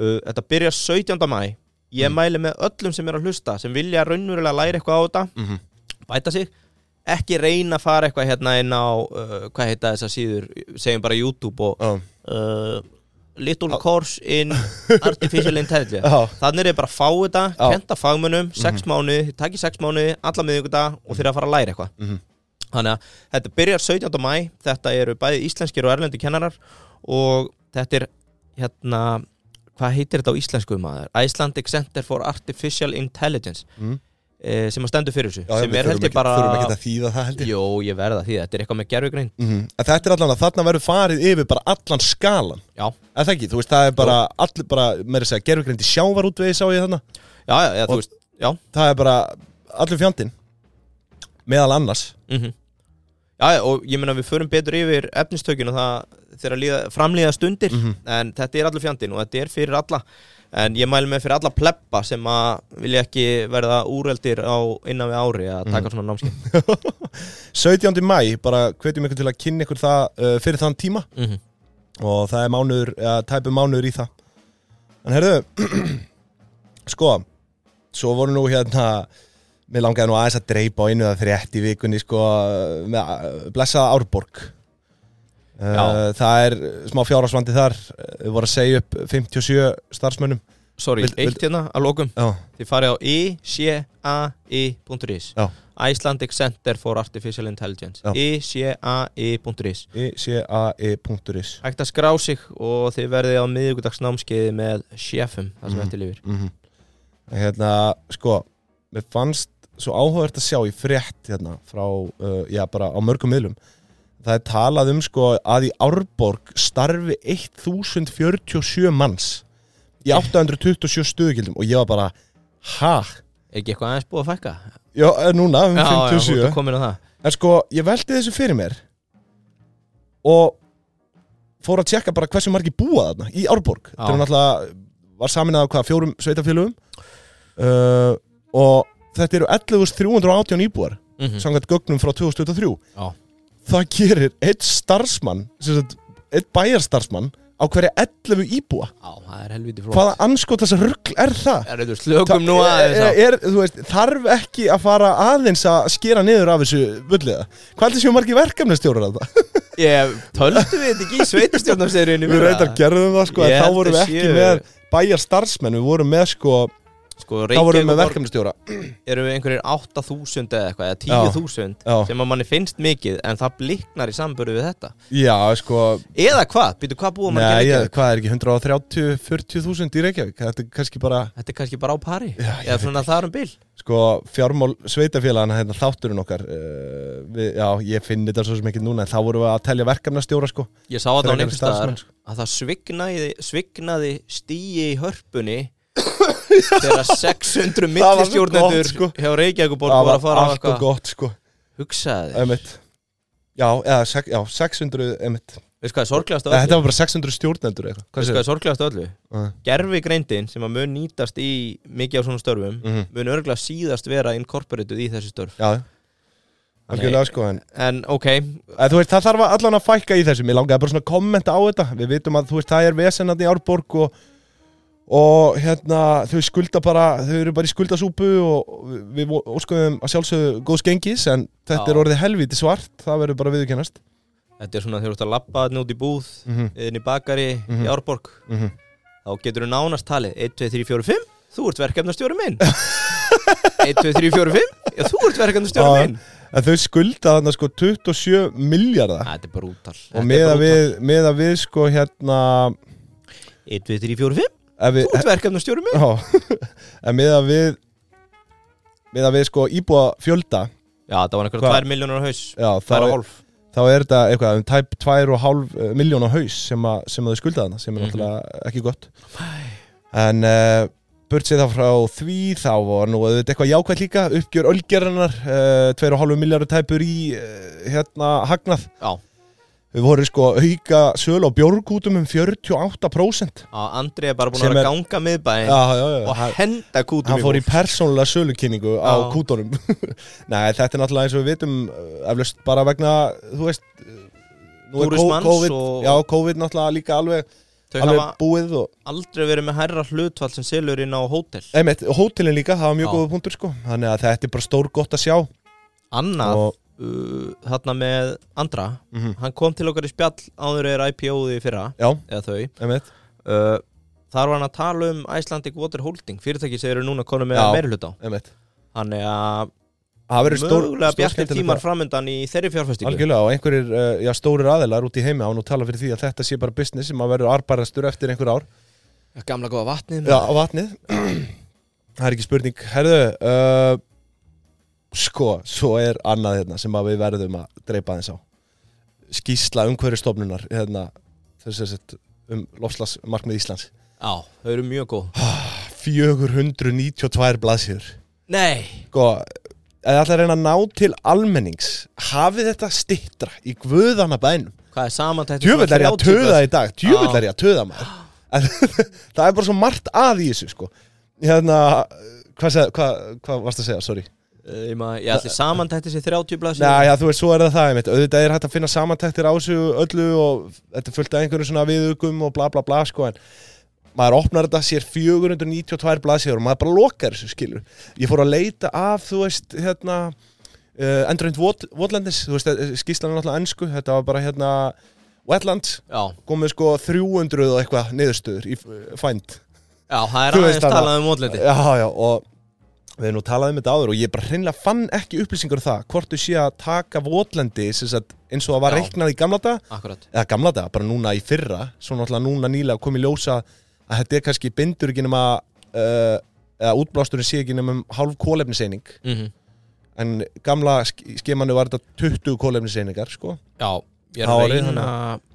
B: uh, Þetta byrjar 17. mæ Ég mæli með öllum sem er að hlusta sem vilja raunverulega læra eitthvað á þetta
A: Mhm.
B: bæta sig ekki reyna að fara eitthvað hérna inn á uh, hvað heita þessar síður, segjum bara YouTube og
A: Já.
B: uh, Little Course in Artificial Intelligence
A: Já.
B: þannig er ég bara að fá þetta,
A: Já. Mhm.
B: kenta fagmönnum sex mánuði, takk í sex mánuði, alla miðvikudag og þeir að fara að læra eitthvað
A: Mhm.
B: þannig að þetta byrjar 17. mæ þetta eru bæði íslenskir og erlendi kennarar og þetta er hérna, hvað heitir þetta á íslensku maður? Icelandic Center for Artificial Intelligence
A: Mhm.
B: eh, sem að stendur fyrir þessu
A: Já,
B: sem
A: við
B: er
A: þurfum
B: held ég
A: ekki- þurfum ekki
B: bara
A: að þýða það held ég
B: Jó, ég verða því, þetta er eitthvað með gerfugrein
A: mm en þetta er allan að þarna verður farið yfir bara allan skalan
B: Já,
A: að það ekki, þú veist, það er bara allir bara, meira að segja, gerfugrind í sjávarútvegi sá ég þarna,
B: já, já, já þú
A: Og-
B: veist Já,
A: það er bara allur fjandinn meðal annars
B: mhm Já, já, og ég meina við förum betur yfir efnistökin og það þegar líða, framlíða stundir en þetta er allur fjandinn og þetta er fyrir alla en ég mæli mig fyrir alla pleppa sem að vilja ekki verða úreldir á innan við ári að taka svona námskeið
A: 17. mæ, bara hvetjum ykkur til að kynna ykkur það uh, fyrir þann tíma
B: mm
A: og það er mánuður, eða tæpu mánuður í það en herðu sko svo voru nú hérna mér langaði nú aðeins að dreipa á einu það frétt í vikunni sko með að- blessaða Árborg uh,
B: Já.
A: það er smá fjárhagsvandi þar við voru að segja upp 57 starfsmönnum
B: Sorry,
A: Vild-
B: eitt hérna að lokum
A: já,
B: Þið farið á icai.is
A: já,
B: e Icelandic Center for Artificial Intelligence
A: Já.
B: icai.is
A: E icae.is
B: e hægt að skrá sig og þið verðið á miðvíkudags námskeiði með sjefum það sem
A: Mhm.
B: eftir lifir
A: mm hérna, sko mér fannst svo áhugavert að sjá í frétt hérna, frá, uh, já, bara á mörgum miðlum það er talað um sko að í Árborg starfi 1047 manns í 827 stöðugildum og ég var bara, ha?
B: er ekki eitthvað aðeins búið að fækka?
A: Já, eh, núna, um
B: Já, já, þú
A: 57
B: ert komin á það
A: En sko, ég velti þessu fyrir mér og fór að tjekka bara hversu margir búa þarna í Árborg
B: Já.
A: þegar hún alltaf var samin að hvað, fjórum sveitafélugum uh, og þetta eru 11.318 íbúar
B: mm
A: samkvæmt gögnum frá 2023
B: Já.
A: það gerir eitt starfsmann sem sagt, eitt bæjarstarfsmann á hverja 11 íbúa
B: Já, það er helviti flott
A: hvaða anskot þessa rugl er það?
B: Er þetta slökum nú aðeins
A: er,
B: á
A: er, þú veist, þarf ekki að fara aðeins að skera niður af þessu vulliða hvað er þessi margir verkefnastjórar að það?
B: Ég töldu við þetta ekki í sveitastjórnarserjunni
A: Við reyndar gerðum það sko,
B: Ég
A: en þá
B: held
A: vorum við
B: að
A: ekki
B: séu-
A: með bæjar starfsmenn, við vorum með sko,
B: Sko,
A: þá vorum við
B: Reykjavík
A: með
B: borg
A: verkefnastjóra.
B: eru við einhverjir 8000 eða eitthvað eða 10000
A: Já.
B: sem að manni finnst mikið en það bliknar í samböru við þetta
A: Já, sko,
B: Eða hvað? Býtu hvað búið mann
A: nei,
B: ekki
A: ég, hvað er ekki, 130-40 þúsund í Reykjavík, þetta er kannski bara,
B: Þetta er kannski bara á pari
A: Já, ég
B: Eða svona það er um bil
A: sko, fjármál sveitafélagana, hérna, þátturinn okkar, uh, við, já, ég finn þetta svo sem ekki núna, en þá vorum við að telja verkefnastjóra sko.
B: Ég sá þetta á
A: Frekar
B: einhvers staðar
A: starfsmenn, sko.
B: að það svignaði, svignaði stíi í hörpunni þegar
A: Það
B: 600
A: var svo
B: millistjórnendur
A: gott, sko.
B: hjá Reykjavíkuborg
A: Það
B: voru að
A: var
B: fara á
A: allt og
B: eitthvað
A: gott sko,
B: hugsaði
A: emitt. Já, eða, sex- já, 600, emitt.
B: Veist hvað er sorglegast af
A: Þetta
B: öllu?
A: var bara 600 stjórnendur eitthvað. Hvað
B: Veist
A: séu?
B: hvað er sorglegast af öllu?
A: Nei.
B: Gerfi greindin sem að mun nýtast í mikið á svona störfum
A: Mhm.
B: mun örgulega síðast vera incorporated í þessi störf
A: Já, algjörlega sko, en
B: En ok,
A: Að, þú veist, það þarf allan að fækka í þessu Mér langaði bara svona að kommenta á þetta Við vitum að þú veist, það er vesennandi í Árborg og, og hérna, þau skulda bara Þau eru bara í skuldasúpu og við vo- óskuðum að sjálfsögðu góðs gengis En þetta
B: Já.
A: er orðið helviti svart Það verður bara viðurkennast
B: Þetta er svona þegar þú ert að labba þarna út í búð mm
A: Mhm.
B: inn í bakari í Árborg
A: Mhm.
B: þá getur þú nánast talið 1, 2, 3, 4, 5 þú ert verkefnastjóri minn 1, 2, 3, 4, 5 já, þú ert verkefnastjóri
A: Já.
B: minn
A: En þau skulda þarna sko 27 miljardar
B: Æ, Þetta er brútal
A: Og meða við, meða við sko hérna
B: 1, 2, 3, 4, 5
A: ef
B: þú
A: við,
B: ert verkefnastjóri minn
A: já, En meða við Meða við sko íbúa fjölda
B: Já, það var einhverja
A: Hvað?
B: 2 miljónur á haus
A: Já, þá
B: 2 og
A: er-
B: hálf
A: þá er þetta eitthvað um tæp 2,5 miljón eh, á haus sem, að, sem að þau skulda þarna sem er
B: Mhm.
A: náttúrulega ekki gott en uh, burt sér það frá því þá var nú auðvitað eitthvað jákvæð líka uppgjör ölgerðanar uh, 2,5 miljardur tæpur í uh, hérna hagnað
B: Já,
A: við vorum sko auka sölu á bjórgútum um 48%
B: á, Andri er bara búin
A: Sem
B: að
A: er-
B: vera að ganga miðbæinn
A: já, já, já,
B: og
A: hann,
B: henda kútum
A: hann fór í persónulega sölukynningu á
B: Já.
A: kútunum nei þetta er náttúrulega eins og við vitum eh, eflaust bara vegna þú veist eh, nú er
B: Túrismans
A: COVID,
B: og-
A: já COVID náttúrulega líka alveg
B: Þau
A: alveg
B: hafa
A: búið og
B: aldrei verið með hærra hlutfall sem selur inn á hótel
A: einmitt, hótelin líka, það var mjög
B: Já.
A: góða punktur sko þannig að þetta er bara stór gott að sjá
B: Annað,
A: og,
B: uh, þarna með Andra
A: mm
B: Hann kom til okkar í spjall áður er IPO-ði í fyrra
A: já,
B: eða þau
A: einmitt
B: uh, Þar var hann að tala um Icelandic Water Holding fyrirtæki sem eru núna konum með
A: Já.
B: meiri hlut á
A: einmitt
B: Þannig að
A: það verður stór,
B: mögulega
A: stór
B: bjartir
A: skemmtileg
B: tímar framöndan í þeirri fjárfestingu
A: Algjörlega og einhverjir, uh, já, stórir aðilar út í heimi án og tala fyrir því að þetta sé bara business sem að verður arbarastur eftir einhver ár
B: Já, Gamla góða vatnið
A: Já, á vatnið Það er ekki spurning Herðu, uh, sko, svo er annað hérna sem að við verðum að dreipa aðeins á Skýsla umhverjastofnunar hérna, þess að sett um lofslagsmarkmið Íslands
B: Já, þau eru mjög góð
A: 492 blaðsýður
B: Nei,
A: Sko, eða ætla að reyna að ná til almennings hafið þetta stittra í guðana bænum
B: hvað er samantækt
A: Djöfull er ég að töða í dag Djöfull
B: Já.
A: er ég að töða maður En Það er bara svo margt að í þessu sko Hérna, hvað, seg, hvað, hvað varst að segja, sorry
B: Eh, Ég, maður, ég ætli samantæktis í 30 blaðsíður
A: Næ, já, þú veist, svo er það það einmitt Auðvitað er hægt að finna samantæktir á þessu öllu og þetta er fullt af einhverjum svona viðugum og bla bla bla sko en maður opnar þetta sér 492 blaðsíður og maður bara lokar þessu skilur Ég fór að leita af, þú veist, hérna uh, Endurhund vot, Votlendis, þú veist, skýslan er náttúrulega ennsku þetta var bara hérna Wetlands
B: Já,
A: komið sko 300 og eitthvað niðurstöður í f- fænd
B: já, það er
A: Þú veist
B: aðeins
A: hana.
B: talað um mótliti
A: Já, já, og við erum nú talað um þetta áður og ég bara hreinlega fann ekki upplýsingur um það hvort þú sé að taka votlendi sem sagt, eins og það var
B: Já.
A: reiknað í gamla dag
B: Akkurat
A: eða gamla dag, bara núna í fyrra svo náttúrulega núna nýlega komið ljósa að þetta er kannski bindur ekki nema uh, eða útblásturinn sé ekki nema um hálf kólefniseining
B: mm
A: en gamla sk- skemanu var þetta 20 kólefniseiningar sko,
B: Já, ég er
A: Árið
B: að reyna
A: hérna.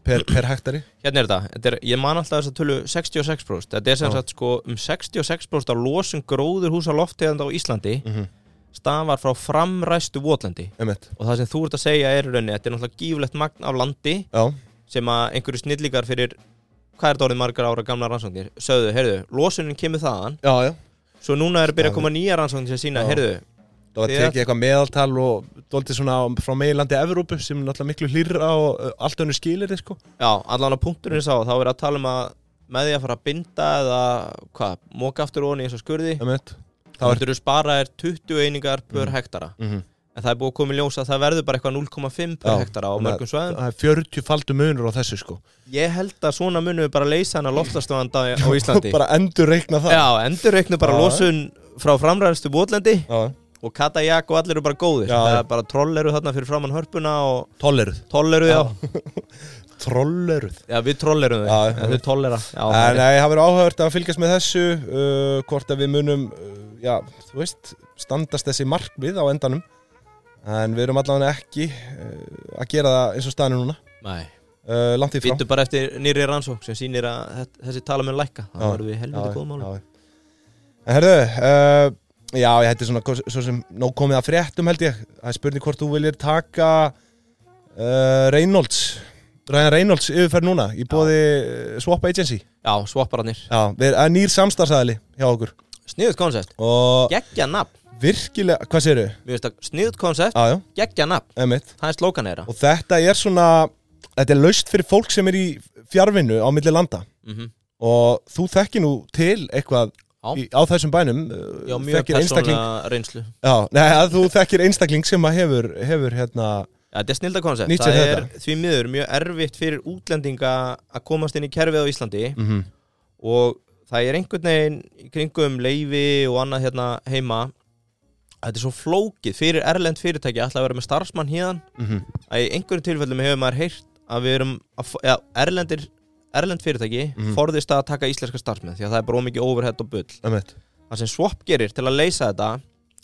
A: per, per hektari
B: Hérna er þetta, þetta er, ég man alltaf þess að tölu 66% Þetta er sem
A: Já.
B: sagt sko um 66% af losun gróður húsa loftegðanda á Íslandi
A: Mhm.
B: stafar frá framræstu votlendi
A: einmitt,
B: og það sem þú ert að segja er í rauninni, þetta er náttúrulega gíflegt magn af landi
A: já,
B: sem að einhverju snillíkar fyrir hvað er þetta orðið margar ára gamla rannsóknir sögðu, heyrðu, losunin kemur þaðan
A: já, já
B: svo núna er að byrja að koma nýja rannsóknir sem sína,
A: Já.
B: heyrðu,
A: Það var
B: Því
A: tekið eitthvað meðaltal og doldið svona frá meilandi Evrópu sem er náttúrulega miklu hlýrra og uh, allt önnu skilir þið sko.
B: já, allan á punkturinn sá þá er að tala um að með því að fara að binda eða hvað, móka aftur ofan í eins og skurði
A: Það meint.
B: þá ertu er... spara er 20 einingar per hektara
A: Mm -hmm.
B: en það er búið að koma í ljós að það verður bara eitthvað 0,5 per
A: Já.
B: hektara á mörgum svæðum
A: Það er 40 faldu munur á þessu sko.
B: ég held að svona munum við bara leysa hana loftastofanda á Íslandi
A: bara endur reikna það.
B: já, endurreiknu bara
A: Já.
B: losun frá framræðastu votlendi
A: Já.
B: og Katajak og allir eru bara góðir
A: Já.
B: það er bara troll eru þarna fyrir framann hörpuna og
A: Tolleruð.
B: toll eru já.
A: Trolleruð.
B: já, eh, við troll eru þau
A: Já.
B: en þau toll eru
A: Já,
B: já,
A: nei, það verður áhört að fylgjast með þessu, uh, hvort að við munum, uh, já, þú veist, standast þessi markmið á endanum. En við erum allavega ekki uh, að gera það eins og staðinu núna,
B: við
A: uh, langt í frá.
B: býttu bara eftir nýri rannsók sem sýnir að þet- þessi tala mun lækka þá
A: Já.
B: verðum við í
A: Já,
B: helviti góðmála
A: já. En herðu, uh, já, ég hætti svona, kos- svo sem nóg komið að fréttum held ég. Það er spurning hvort þú viljir taka uh, Reynolds, Ryan Reynolds yfirferð núna í bóði uh, Swap Agency.
B: já, svoppararnir
A: Já, við erum nýr samstarfsæðli hjá okkur.
B: sniðut koncept
A: Og
B: geggja nafn
A: virkilega, hvað séru?
B: Mér finnst að sniðut koncept
A: Já, já,
B: geggja nafn
A: emitt.
B: það er slókan eira
A: Og þetta er svona, þetta er laust fyrir fólk sem er í fjárvinnu á milli landa.
B: Mhm.
A: Og þú þekki nú til eitthvað
B: Já.
A: í, á þessum bænum, uh,
B: já, mjög
A: þekkir einstakling
B: persónlega reynslu já,
A: Já, nei, að þú þekkir einstakling sem að hefur, hefur hérna,
B: þetta er snilda koncept
A: Nýtt sér
B: það er því miður mjög erfitt fyrir útlendinga að komast inn í kerfið á Íslandi
A: mm -hmm.
B: og það er einhvern veginn í kringum leifi og annað hérna heima þetta er svo flókið fyrir erlend fyrirtæki ætla að vera með starfsmann híðan að í einhverjum tilfellum hefur maður heyrt að við erum að, fo- eða, erlendir erlend fyrirtæki
A: Mhm.
B: forðist að taka íslenska starfsmenn því að það er bara ómikið overhead og bull það sem Swap gerir til að leysa þetta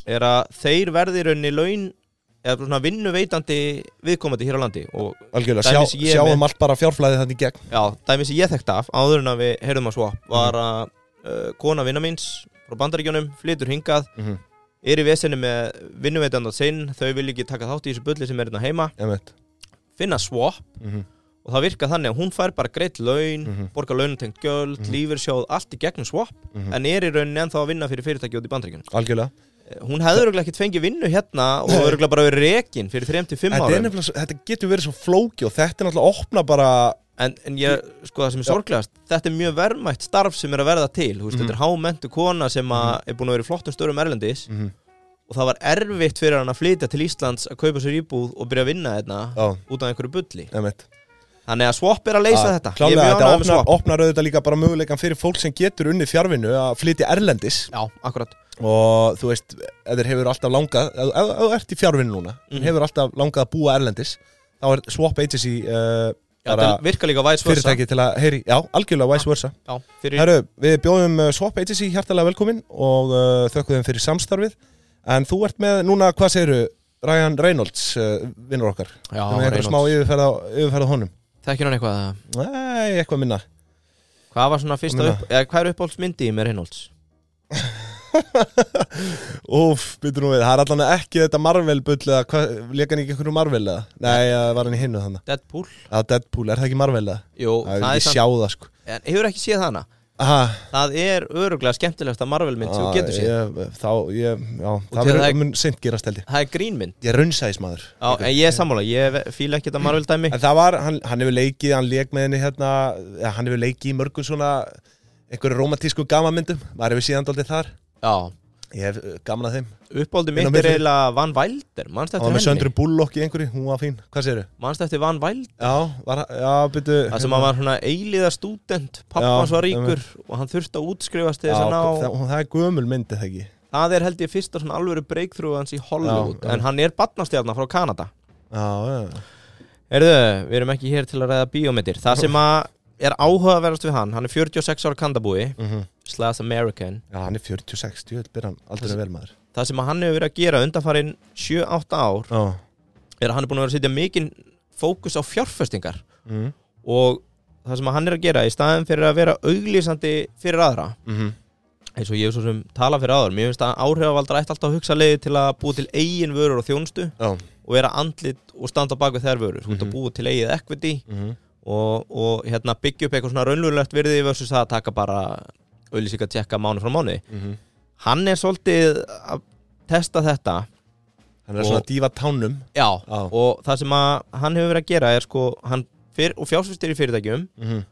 B: er að þeir verði í rauninni laun eða svona vinnuveitandi viðkomandi hér á landi og
A: algjörlega,
B: Dæmis
A: sjá,
B: ég
A: sjáum
B: með-
A: allt bara fjárflæðið þannig í gegn
B: Já, dæmi sem ég þekkt af áður en að við heyrðum að Swap var að uh, kona vinna míns frá bandaríkjónum flytur hingað,
A: mm -hmm.
B: er í vesenni með vinnuveitandi á sinn, þau vil ekki taka þátt í þessu bulli sem er hérna heima, finna Swap og það virka þannig að hún fær bara greitt laun,
A: Mhm.
B: borga launutengt göld, mm lífursjóð, allt í gegnum Swap
A: Mhm.
B: en er í rauninni ennþá að vinna fyrir fyrirtæki út í bandaríkjónum.
A: algjörlega
B: Hún hefði örgulega ekkert fengið vinnu hérna og örgulega bara verið rekin fyrir 3-5
A: þetta, er
B: árum.
A: nefnilega svo- þetta getur verið svo flóki og þetta er náttúrulega opna bara
B: en, en ég, sko það sem er sorglegast þetta er mjög verðmætt starf sem er að verða til þú veist,
A: Mhm.
B: þetta er hámentu kona sem mm er búin að vera í flottum störum erlendis
A: mm -hmm.
B: og það var erfitt fyrir hann að flytja til Íslands að kaupa sér íbúð og byrja að vinna þetta
A: Já,
B: út af einhverju bulli
A: emitt
B: þannig að Swap er að leysa þetta Ég er
A: Klálega,
B: mjög
A: þetta
B: ánægður með
A: opnar,
B: Swap.
A: opnar auðvitað líka bara möguleikan fyrir fólk sem getur unni fjárvinnu að flytja erlendis
B: Já, akkurat
A: og þú veist, ef þeir hefur alltaf langað ef ef- ef þú ert í fjárvinnu núna
B: Mhm.
A: hefur alltaf langað að búa erlendis þá er Swap Agency uh,
B: Já,
A: bara
B: þetta virkar líka væs
A: fyrirtæki til að heyri, já, algjörlega vice versa
B: Já, fyrir
A: Herru, við bjóðum uh, Swap Agency hjartalega velkomin og uh, þökkum þeim fyrir samstarfið en þú ert með núna, hvað segiru Ryan Reynolds, uh, vinnur okkar
B: Já,
A: við erum smá yfirferð á, yfirferð á honum
B: Þekkir hann eitthvað að-
A: Nei, eitthvað minna
B: Hvað var svona fyrsta
A: meina-
B: upp eða, Hvað er uppáhaldsmyndi í mér Reynolds?
A: Úf, byttu nú við, það er allan ekki þetta Marvel bull eða, hvað, leka hann ekki einhverju Marvel eða? Nei, það var hann í hinnu þannig
B: Deadpool
A: Það Deadpool, er það ekki Marvel eða?
B: Jú,
A: Það
B: það,
A: er
B: er
A: ekki
B: samt
A: sjá það sko
B: En hefur ekki séð hana
A: Aha,
B: Það er öruglega skemmtilegasta Marvel-mynd sem þú getur séð
A: Ah, ég, Þá, ég, já,
B: til
A: það verður
B: það-
A: mun seint gerast held ég
B: Það er grínmynd
A: Ég raunsæðis maður
B: Já, en ég er sammála, ég ve- fíla ekki þetta Marvel-dæmi
A: En það var, hann, hann hefur leikið, hann leik með henni hérna ja, Hann hefur leikið í mörgum svona einhverju romantísku gamamyndum Maður hefur síðan daldið þar
B: Já,
A: Ég hef uh, gaman að þeim
B: uppáhaldi
A: Inn á
B: mitt er
A: milli.
B: eiginlega Van Wilder Manst
A: Það var með
B: eftir henni?
A: Söndru Bullock í einhverju, hún var fín Hvað segirðu?
B: Manst eftir Van Wilder?
A: Já, var, já, byrju
B: Það sem hann var svona eilíða stúdent
A: Já,
B: Pappans var
A: einmitt.
B: ríkur og hann þurfti að útskrifast
A: Já,
B: til þess að ná
A: það, það er gömul myndi það ekki
B: Það er held ég fyrsta svona alvöru breakthrough hans í Hollywood
A: Já, já.
B: En hann er barnastjarnar frá Kanada
A: Já, já
B: Erðu, við erum ekki hér til að ræða bíómyndir Það sem að er áhugaverðast við hann Hann er 46 ára kandabúi
A: Mhm.
B: Slash American
A: Já, hann er 46, djöðl, byrja hann aldrei vel maður
B: Það sem að hann hefur verið að gera undanfarin 7-8 ár
A: Já
B: Er að hann er búin að vera að setja mikinn fókus á fjárfestingar
A: mm.
B: Og það sem að hann er að gera Í staðin fyrir að vera auglýsandi fyrir aðra
A: Mm -hmm.
B: eins og ég hef svo sem tala fyrir aður mér finnst að áhrifavaldar ætti alltaf að hugsa leiði til að búa til eigin vörur og þjónustu
A: Já
B: og vera andlit og standa á bak við þær vörur þú ert að búa til eigið equity
A: mm
B: og, og hérna byggja upp eitthvað svona raunlulegt virði versus það að taka bara auðlýsing að tjekka mánu frá mánu
A: -hmm.
B: hann er svolítið að testa þetta
A: Hann er
B: Og-
A: svona að dífa tánum
B: já,
A: Já.
B: og það sem að hann hefur verið að gera er sko hann fyrr, og fjásfyrstir í fyrirtækjum
A: mm -hmm.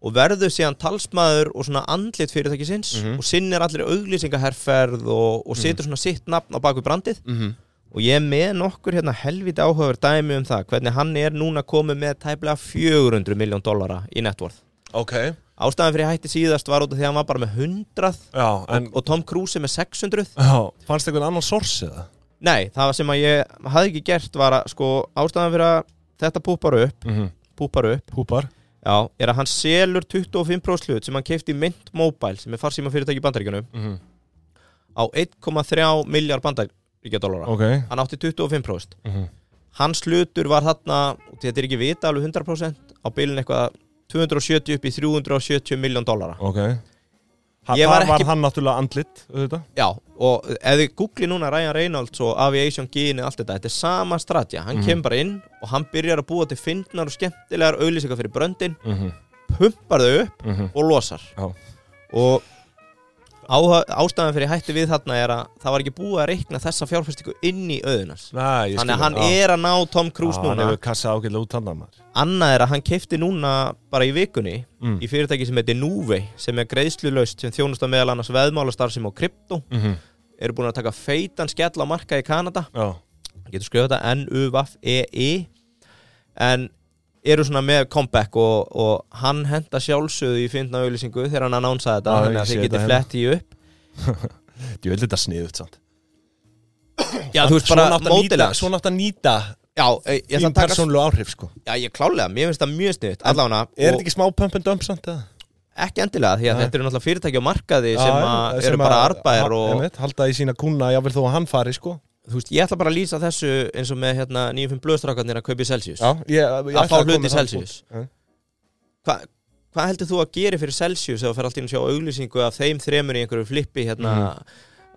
B: og verður síðan talsmaður og svona andlit fyrirtækisins
A: Mhm.
B: og sinnir allir auglýsingaherferð og, og setur svona sitt nafn á baku brandið
A: Mm -hmm.
B: og ég er með nokkur hérna helviti áhugaver dæmi um það hvernig hann er núna komið með tæplega 400 miljón dollara í networth
A: Ok
B: ástæðan fyrir ég hætti síðast var út af því að hann var bara með 100
A: Já, en
B: og Tom Cruise er með 600
A: Já, fannst einhvern annan sors eða?
B: nei, það sem að ég hafði ekki gert var að sko ástæðan fyrir að þetta púpar upp
A: Mm -hmm.
B: púpar upp,
A: Púpar
B: já, er að hann selur 25% hlut sem hann keipti í Mint Mobile sem er farsíma fyrirtæki í bandaríkjunum
A: mm -hmm.
B: á 1,3 miljard bandaríkjadólara
A: Ok
B: hann átti 25%
A: mm -hmm.
B: hans hlutur var þarna og þetta er ekki vita alveg 100% á bylun eitthvað 270 upp í 370 miljón dollara
A: Ok
B: Ég var
A: Þar var
B: ekki-
A: hann náttúrulega andlit auðvitað
B: já og ef þið googli núna Ryan Reynolds og Aviation Gini allt þetta, þetta er sama stratja hann kemur bara inn og hann byrjar að búa til fyndnar og skemmtilegar auðlýsingar fyrir bröndin
A: mm -hmm.
B: pumpar þau upp
A: Mm -hmm.
B: og losar
A: Já.
B: og áha- ástæðan fyrir ég hætti við þarna er að það var ekki búið að reikna þessa fjárfestingu inn í auðunars
A: Nei, ég
B: þannig að
A: skil
B: hann
A: það. Já.
B: er að ná Tom Cruise
A: Já, Hann
B: núna
A: hefur kassað ágætlega út hann maður
B: annað er að hann keipti núna bara í vikunni
A: Mm.
B: í fyrirtæki sem heitir Nuvei sem er greiðslulaust sem þjónust að meðal annars veðmálastarfsum og krypto
A: mm -hmm.
B: eru búin að taka feitan skell á marka í Kanada
A: Já
B: getur skrifað þetta N-U-V-E-I E en eru svona með comeback og, og hann henda sjálfsögðu í fyndna auðlýsingu þegar hann annánsaði þetta
A: Já,
B: þannig
A: ég
B: að
A: sé
B: þið
A: þetta
B: getið
A: hérna.
B: flett í upp
A: Ég vil þetta sniðut samt
B: já þú veist bara mótilega
A: Svo nátt að nýta
B: já ég, ég, ætla
A: Þín
B: að taka,
A: persónlu áhrif sko
B: já ég klálega, mér finnst það mjög sniðt allána
A: Er þetta ekki smá pump and dump samt eða?
B: ekki endilega því að
A: Nei.
B: þetta eru náttúrulega fyrirtæki á markaði
A: Já,
B: sem,
A: já,
B: að eru bara
A: að-
B: arbaðir
A: ha-
B: og
A: einmitt, halda í sína kuna, jável þó að hann fari sko
B: þú veist, ég ætla bara að lýsa þessu eins og með hérna 95 blöðstrákarnir að kaupa í Celsius
A: já, ég, ég ætla
B: að fá
A: koma sko.
B: hluti
A: með
B: í
A: þann
B: Celsius
A: punkt. Já.
B: Hva, hvað heldur þú að gera fyrir Celsius ef þú fer allt í einu að sjá auglýsingu af þeim þremur í einhverju flippi hérna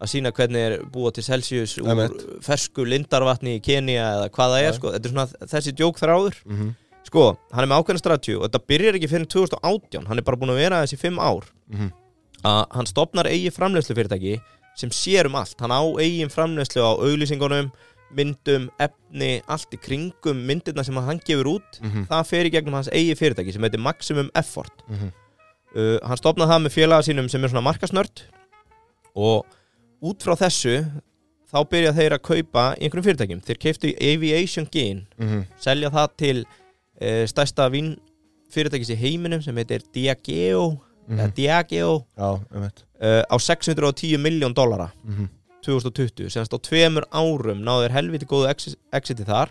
B: að sína hvernig er búa til Celsius úr
A: Mhm. Einmitt.
B: fersku lindarvatni í Kenia eða hvað það er,
A: Já.
B: sko, þetta er svona þessi djók þráður
A: Mhm,
B: sko, hann er með ákveðna stratjú og þetta byrjar ekki fyrir 2018, hann er bara búin að vera þessi 5 ár
A: mhm,
B: að hann stopnar eigi framleiðslu fyrirtæki sem sér um allt, hann á eigin framleiðslu á auglýsingunum myndum, efni, allt í kringum myndirna sem að hann gefur út
A: Mhm.
B: það fer í gegnum hans eigi fyrirtæki sem heitir Maximum Effort
A: Mhm.
B: uh, hann stopnaði það með félaga sínum sem er svona markasnörd og út frá þessu þá byrja þeir að kaupa í einhverjum fyrirtækjum þeir keiftu Aviation Gain
A: Mhm.
B: selja það til uh, stærsta vín fyrirtækis í heiminum sem heitir Diageo, mm
A: Mhm.
B: Diageo
A: Já, um veit
B: uh, á 610 miljón dollara
A: Mhm.
B: 2020, semst á tveimur árum náður helviti góðu exi- exiti þar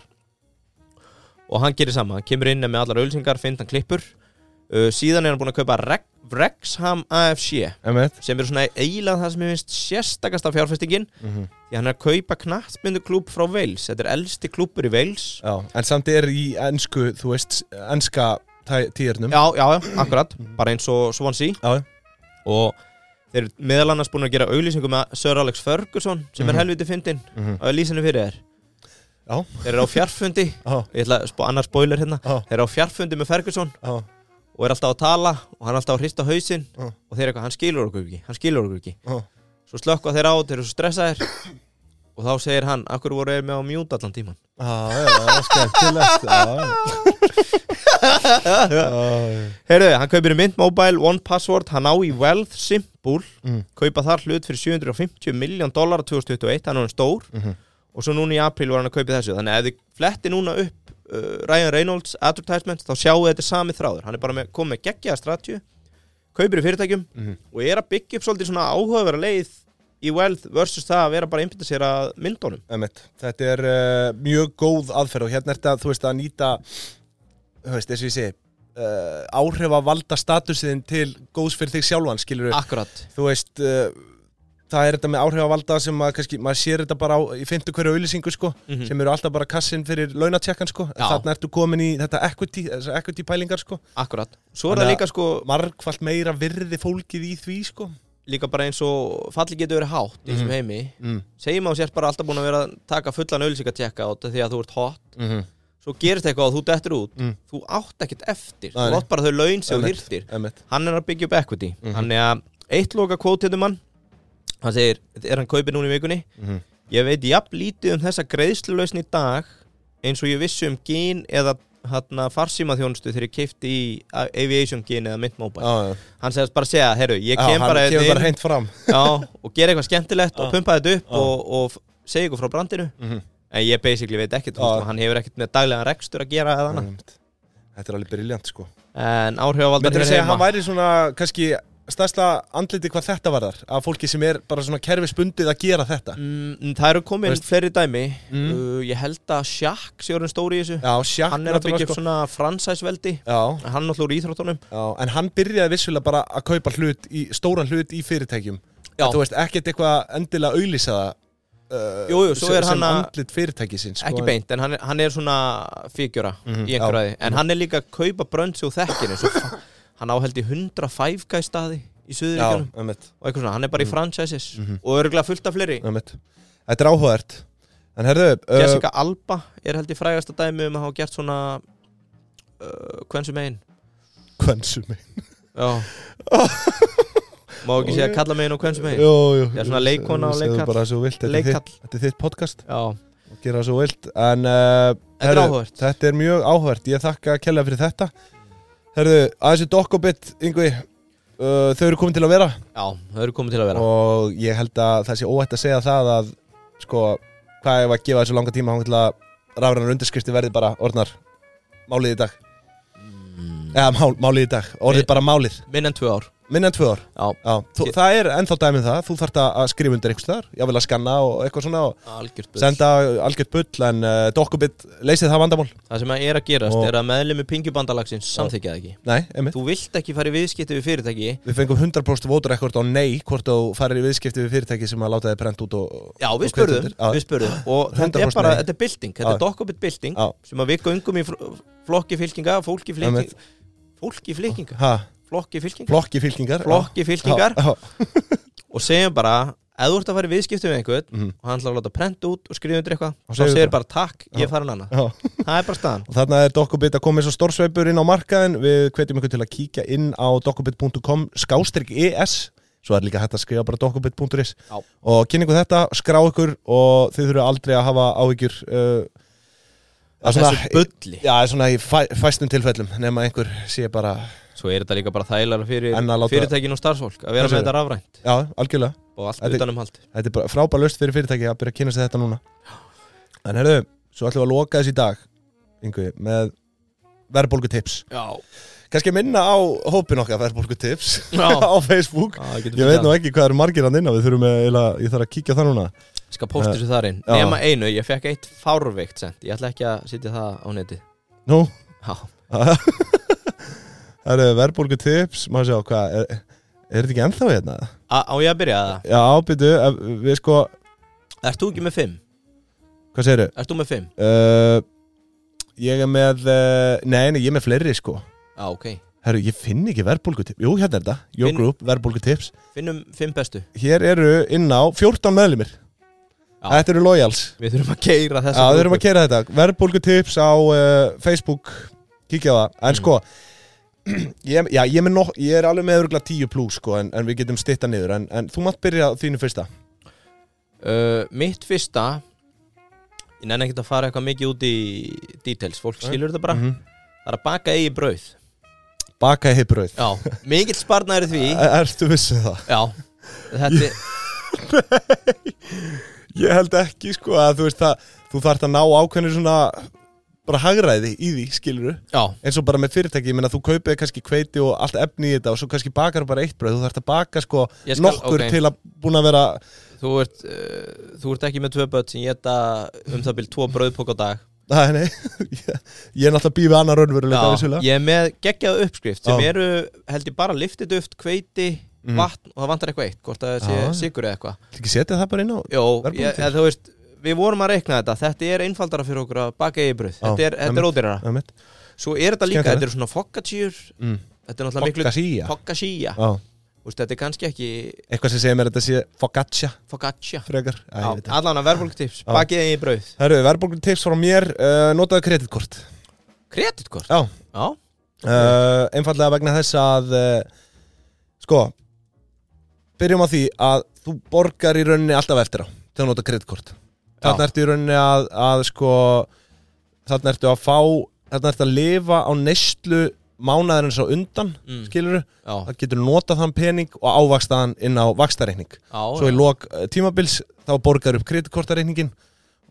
B: og hann gerir sama hann kemur inn með allar ölsingar, finn hann klippur uh, síðan er hann búin að kaupa Rex, Rexham AFC
A: Um veit
B: sem eru svona eiginlega það sem ég finnst sérstakasta fjárfestingin
A: Mhm.
B: því hann er að kaupa knattbyndu klúb frá Wales þetta er elsti klúbur í Wales
A: Já, en samt er í ennsku, þú veist, ennska tæ- tíðernum
B: já, já, já, akkurat, bara eins og Swansea
A: Já,
B: og þeir eru meðal annars búin að gera auglýsingu með Sir Alex Ferguson sem er
A: Mhm.
B: helviti fyndin
A: Mhm.
B: og lýsinu fyrir þér
A: Já.
B: þeir eru á fjarfundi
A: já,
B: ég ætla að spá annar spoiler hérna
A: já,
B: þeir eru á fjarfundi með Ferguson
A: já
B: og er alltaf að tala og hann er alltaf að hrista hausinn
A: Já.
B: og þeir eru eitthvað, hann skilur okkur ekki, hann skilur okkur ekki
A: já.
B: svo slökka þeir á, þeir eru svo stressaðir og þá segir hann, akkur voru þeir með á mjút allan tíman
A: Já, já, já, skemmtilegt Já, já, já
B: Heyrðu, hann kaupir í Mint Mobile, One Password, hann á í Wealth Simple,
A: Mm.
B: kaupa þar hlut fyrir 750 miljón dollara 2021, hann er hann stór
A: Mhm.
B: og svo núna í april var hann að kaupa þessu, þannig að ef þið fletti núna upp uh, Ryan Reynolds advertisements, þá sjáu þetta sami þráður, hann er bara með, komið með geggjaða stratju, kaupir í fyrirtækjum
A: Mhm.
B: og er að byggja upp svolítið svona áhugavera leið í Wealth versus það að vera bara að einbytta sér að myndunum.
A: Einmitt. Þetta er uh, mjög góð aðferð og hérna er þetta, þú veist, að nýta þú veist, eins og ég segi uh, áhrif að valda statusin til góðs fyrir þig sjálfan, skilur við
B: Akkurat.
A: þú veist, uh, það er þetta með áhrif að valda sem að kannski, maður sér þetta bara á, í fyndu hverju auðlýsingu, sko,
B: Mhm.
A: sem eru alltaf bara kassin fyrir launatjekkan, sko,
B: Já.
A: þarna ertu komin í þetta equity, þessar equity pælingar, sko
B: Akkurat. Svo er það
A: Þannig að-
B: líka sko,
A: margfalt meira virði fólkið í því, sko
B: líka bara eins og falli getur verið hátt í þessum heimi
A: mm.
B: segjum að þú sért bara alltaf búin að vera að taka fullan auðlýsingatjekka át því að þú ert hot
A: Mm -hmm.
B: svo gerist eitthvað og þú dettur út
A: Mm.
B: þú átt ekkert eftir,
A: Nei, nei.
B: þú átt bara þau laun sem þú þyrtir
A: Emmett
B: hann er að byggja upp equity
A: Mhm.
B: hann er að eitt loka kvótiðum hann hann segir, er hann kaupið núna í vikunni
A: Mhm.
B: ég veit jafn lítið um þessa greiðslulausn í dag eins og ég vissi um gín eða hérna farsíma þjónustu þegar ég keipti í a- aviation gín eða mint mobile
A: Já, já.
B: hann segist bara að segja, herru, ég
A: Já,
B: kem
A: hann
B: bara hérna
A: kemur
B: inn."
A: bara hreint fram
B: Já, og gera eitthvað skemmtilegt og
A: Já.
B: pumpa þetta upp
A: Já.
B: og, og f- segja ykkur frá brandinu
A: Mhm.
B: en ég basically veit ekkert,
A: Já.
B: þú
A: Mhm.
B: veist, og hann hefur ekkert með daglegan rekstur að gera eða annað
A: Einmitt. Þetta er alveg briljant sko
B: en áhrifavaldar
A: Myndir
B: hér
A: að segja að
B: heima
A: hann væri svona kannski stærsta andliti hvað þetta varðar að fólki sem er bara svona kerfisbundið að gera þetta
B: mm, Það eru komin
A: Veist-
B: fleiri dæmi
A: Mm.
B: uh, ég held að Shaq sé orðin stóri í þessu
A: Já, sjakk
B: hann er að byggja upp
A: náttúrulega, sko.
B: svona fransæsveldi
A: Já,
B: hann er náttúrulega úr íþróttunum
A: já, en hann byrjaði vissulega bara að kaupa hlut í, stóran hlut í fyrirtækjum
B: Já.
A: En Þú veist, ekkert eitthvað endilega auðlýsa það uh,
B: Jú, jú, svo
A: sem-
B: er
A: sem
B: hann að-
A: andlit fyrirtækisins
B: ekki beint, en hann er, hann er svona fígjura
A: Sko, Mhm,
B: í
A: já.
B: einhverjaði, en hann er líka að kaupa brönds og þekkir eins og fa- hann áheldi 105 gæstaði
A: Já,
B: í
A: Mhm.
B: Suðuríkjunum
A: ömmit,
B: og eitthvað svona, hann er bara í franchises og örgulega fullt af fleiri
A: ömmit Þetta er áhugavert En herðu uh,
B: Jessica Alba er held í frægasta dæmi um að hafa gert svona uh, hvensum megin
A: Hvensum mig
B: já má ekki segja kalla megin og hvensum megin
A: Jú, jú
B: Já, svona leikkona og
A: Segðu
B: leikkall.
A: bara svo vilt, þetta er þitt-
B: leikall,
A: þetta er þitt podcast
B: já,
A: og gera svo vilt en uh,
B: þetta er áhugavert
A: þetta er mjög áhvert, ég þakka kella fyrir þetta herðu, aðeins er dokkobit yngvi, uh, þau eru komin til að vera
B: já, það eru komið til að vera
A: og ég held að það sé óætt að segja það að sko, hvað ef að gefa þessu langa tíma hann til að rafrænar undirskrifti verði bara orðnar málið í dag eða mál, málið í dag, orðið
B: Við-
A: bara málið
B: minn en tvö ár
A: minna en tvö ár
B: já,
A: Já, þú,
B: Ég-
A: það er ennþá dæmið það, þú þarft að að skrifa undir einhvers þar, ég vil að skanna og eitthvað svona og
B: algjört bull.
A: senda algjört bull en uh, dokkubit leysið það vandamál
B: það sem að er að gerast
A: Og-
B: er að meðlemi pingjubandalagsins samþykja það ekki
A: Nei, einmitt
B: þú vilt ekki fara í viðskipti við fyrirtæki
A: Við fengum 100% vótrekord á nei hvort þú farir í viðskipti við fyrirtæki sem að láta þið prent út og...
B: Já,
A: Og
B: við
A: hvetja
B: spurðum,
A: undir. Já.
B: við spurðum og þetta er
A: 100%
B: bara,
A: nei.
B: þetta er bylting, þetta
A: Já.
B: er dokkubit bylting
A: Já.
B: sem að við göngum í fl- flokki fylkinga, fólki
A: Einmitt.
B: fylkinga fólki fylkinga,
A: Ha,
B: flokki fylkinga
A: flokki fylkingar
B: flokki fylkingar
A: Já, já,
B: og segjum bara, ef þú ert að fara í viðskiptum með einhvern
A: Mhm.
B: og hann ætlar að láta prenta út og skrifa undir eitthvað
A: Og
B: og þá
A: segir
B: segir
A: bara.
B: bara takk, ég er farin annað
A: já.
B: það er bara staðan,
A: Og þarna er Dokkubit að koma eins og stórsveipur inn á markaðin Við hvetjum ykkur til að kíkja inn á dokkubit.com skástrík ES svo er líka hægt að skrifa bara dokkubit.is
B: Já.
A: og kynningu þetta, skrá ykkur og þið þurfum aldrei að hafa áhyggjur uh, að
B: þessu bulli
A: Já, svona í fæ, fæstum tilfellum nema einhver sé bara
B: Svo er þetta líka bara þægilega fyrir
A: En að láta-
B: fyrirtækin og starfsfólk að vera
A: Þessu-
B: með þetta rafrænt
A: Já, algjörlega
B: og allt um
A: Þetta-
B: utanumhald
A: Þetta er bara frábær löst fyrir fyrirtæki að byrja að kynna sér þetta núna En herðu, svo ætlum við að loka þessi í dag Yngvi, með verðbólgu tips
B: Já,
A: Kannski minna á hópin okkar verðbólgu tips
B: Já.
A: á Facebook
B: það getur
A: Ég veit nú ekki hvað eru margir hann inn á Við þurfum að, eiginlega- ég þarf að kíkja það núna
B: Skal posta þessu þar inn
A: Já.
B: Nema einu, ég fekk eitt fárveikt sent Ég ætla ekki að sitja það á neti
A: Nú,
B: Já,
A: það eru verðbólgu tips Má sjá, hvað, er, er þetta ekki ennþá hérna?
B: á, á ég að byrja það
A: Já, ábyrðu, við sko,
B: Ert þú ekki með fimm?
A: hvað segirðu?
B: Ert þú með fimm?
A: Uh, ég er með uh, Nei, nei, ég er með fleiri sko
B: Já, ok
A: Herru, ég finn ekki verðbólgutips Jú, hérna er þetta, Your
B: Finn-
A: Group, verðbólgutips
B: Finnum fimm bestu
A: Hér eru inn á 14 meðlumir
B: Já.
A: Þetta eru loyals
B: Við þurfum að keira
A: Já,
B: þessa
A: við erum
B: grúpu.
A: að kera þetta Verðbólgutips á uh, Facebook Kíkja á það,
B: Mm.
A: en sko ég, Já, ég er, með nok, ég er alveg með örgulega 10 plus sko En, en við getum stitta niður en, en þú mátt byrja á þínu fyrsta
B: Uh, mitt fyrsta ég nenni ekkert að fara eitthvað mikið út í details, fólk skilur þetta bara
A: Mhm.
B: það er að baka eigi brauð
A: Baka í brauð
B: já, mikill sparnar í því
A: Ertu vissið það?
B: já, þetta er
A: Ég held ekki sko að þú veist að þú þarft að ná ákveðinu svona bara hagræði í því, skiluru
B: já,
A: eins og bara með fyrirtæki, ég meina þú kaupið kannski kveiti og allt efni í þetta og svo kannski bakar bara eitt bröð, þú þarft að baka sko
B: Ég skal-
A: nokkur
B: ok.
A: til að búin að vera
B: þú ert uh, þú ert ekki með tvö börn sem geta um það byrjum tvo brauðpók á dag
A: Nei, nei, ég, ég er náttúrulega býfið annar raunveruleika vissulega
B: ég er með geggjað uppskrift sem
A: Já.
B: eru, held ég bara liftiduft, hveiti
A: Mhm.
B: vatn og það vantar eitthvað eitt, hvort að það sé
A: Já.
B: sigur eða eitthvað
A: Þetta ekki setja það bara inn á
B: Jó,
A: Verbúðin
B: ég,
A: til.
B: eða þú veist, við vorum að reikna þetta þetta er einfaldara fyrir okkur að baka eigi brauð þetta er, þetta er
A: einmitt.
B: ódýrara
A: Það mitt
B: Svo er þetta líka,
A: Skemmtilegt.
B: þetta eru svona fokkatsýr
A: Mm.
B: Þetta er náttúrulega miklu
A: Foccaccia
B: Fokkasíja
A: Já.
B: Þetta er kannski ekki
A: Eitthvað sem segir mér að þetta sé focaccia
B: fokkatsja
A: frekar Æ, ég veit ekki.
B: Allan að verðbólktips,
A: Já.
B: bakið þeim í brauð
A: Herru, verðbólgun tips frá mér uh, notaðu kreditkort
B: Kreditkort
A: Já
B: Já,
A: uh, einfallega vegna þess að uh, sko byrjum á því að þú borgar í rauninni alltaf eftir á til að nota kreditkort þarna ertu í rauninni að, að sko þarna ertu að fá þarna ertu að lifa á neyslu mánaðurins á undan
B: Mm.
A: skiluru,
B: já,
A: það getur notað þann pening og ávaksta hann inn á vakstareikning
B: já,
A: svo í
B: já.
A: lok eh, tímabils þá borgar upp kreditkortareikningin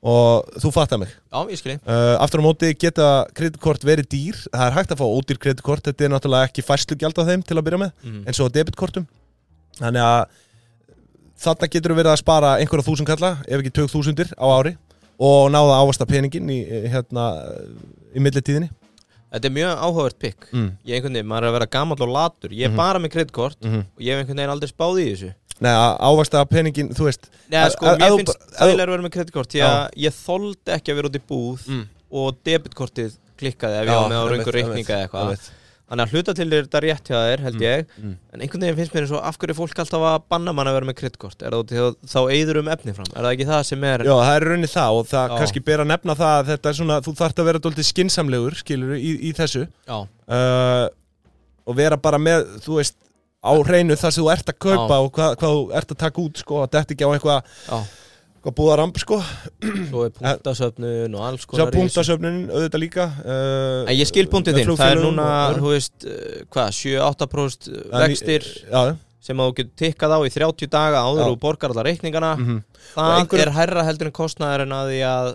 A: og þú fattar mig
B: já ég skilji
A: Uh, aftur á móti geta kreditkort verið dýr það er hægt að fá ódýr kreditkort þetta er náttúrulega ekki færslugjald á þeim til að byrja með
B: Mm.
A: eins og á debitkortum þannig að þarna getur verið að spara einhverja þúsund kalla ef ekki tök þúsundir á ári og náða ávasta peningin í, eh, hérna, eh, í millitíðinni
B: Þetta er mjög áhugavert pikk
A: Mm.
B: Ég einhvern veginn, maður er að vera gamall og latur Ég er bara með kreditkort
A: Mhm.
B: og ég hef einhvern veginn aldrei spáð í þessu
A: Nei, að ávasta peningin, þú veist
B: Nei,
A: Að-
B: sko,
A: að- að
B: mér
A: þú
B: finnst
A: bara- að þú-
B: þægilega að vera með kreditkort Því að ég þoldi ekki að vera út í búð
A: Mm.
B: og debitkortið klikkaði ef ég var með á röngu reikninga eða eitthvað Þannig að hluta til er þetta rétt hjá þér, held ég
A: mm.
B: En einhvern veginn finnst mér eins og af hverju er fólk alltaf að banna mann að vera með kreditkort Er það út í þá, þá eyður um efni fram? Er það ekki það sem er
A: Já, það er raunin það og það
B: Já.
A: kannski ber að nefna það að þetta er svona, þú þarft að vera dóltið skinsamlegur, skilur, í, í þessu
B: Já,
A: uh, og vera bara með, þú veist á hreinu þar sem þú ert að kaupa og hvað, hvað þú ert að taka út sko, að þetta ekki á eitthvað
B: já
A: hvað búða ramp sko,
B: Svo er punktasöfnun og alls
A: sjá
B: konar í þessu.
A: punktasöfnin auðvitað líka uh,
B: En ég skil punktið
A: með
B: þinn, það er
A: flugfélögum
B: núna,
A: og öðru.
B: þú veist, uh, hvað, 7-8%
A: En-
B: vextir
A: já,
B: sem að þú getur tikkað á í 30 daga áður
A: Já.
B: og þú borgar alla reikningana
A: mhm.
B: Það
A: Og einhver-
B: er hærra heldur en kostnaður en að því að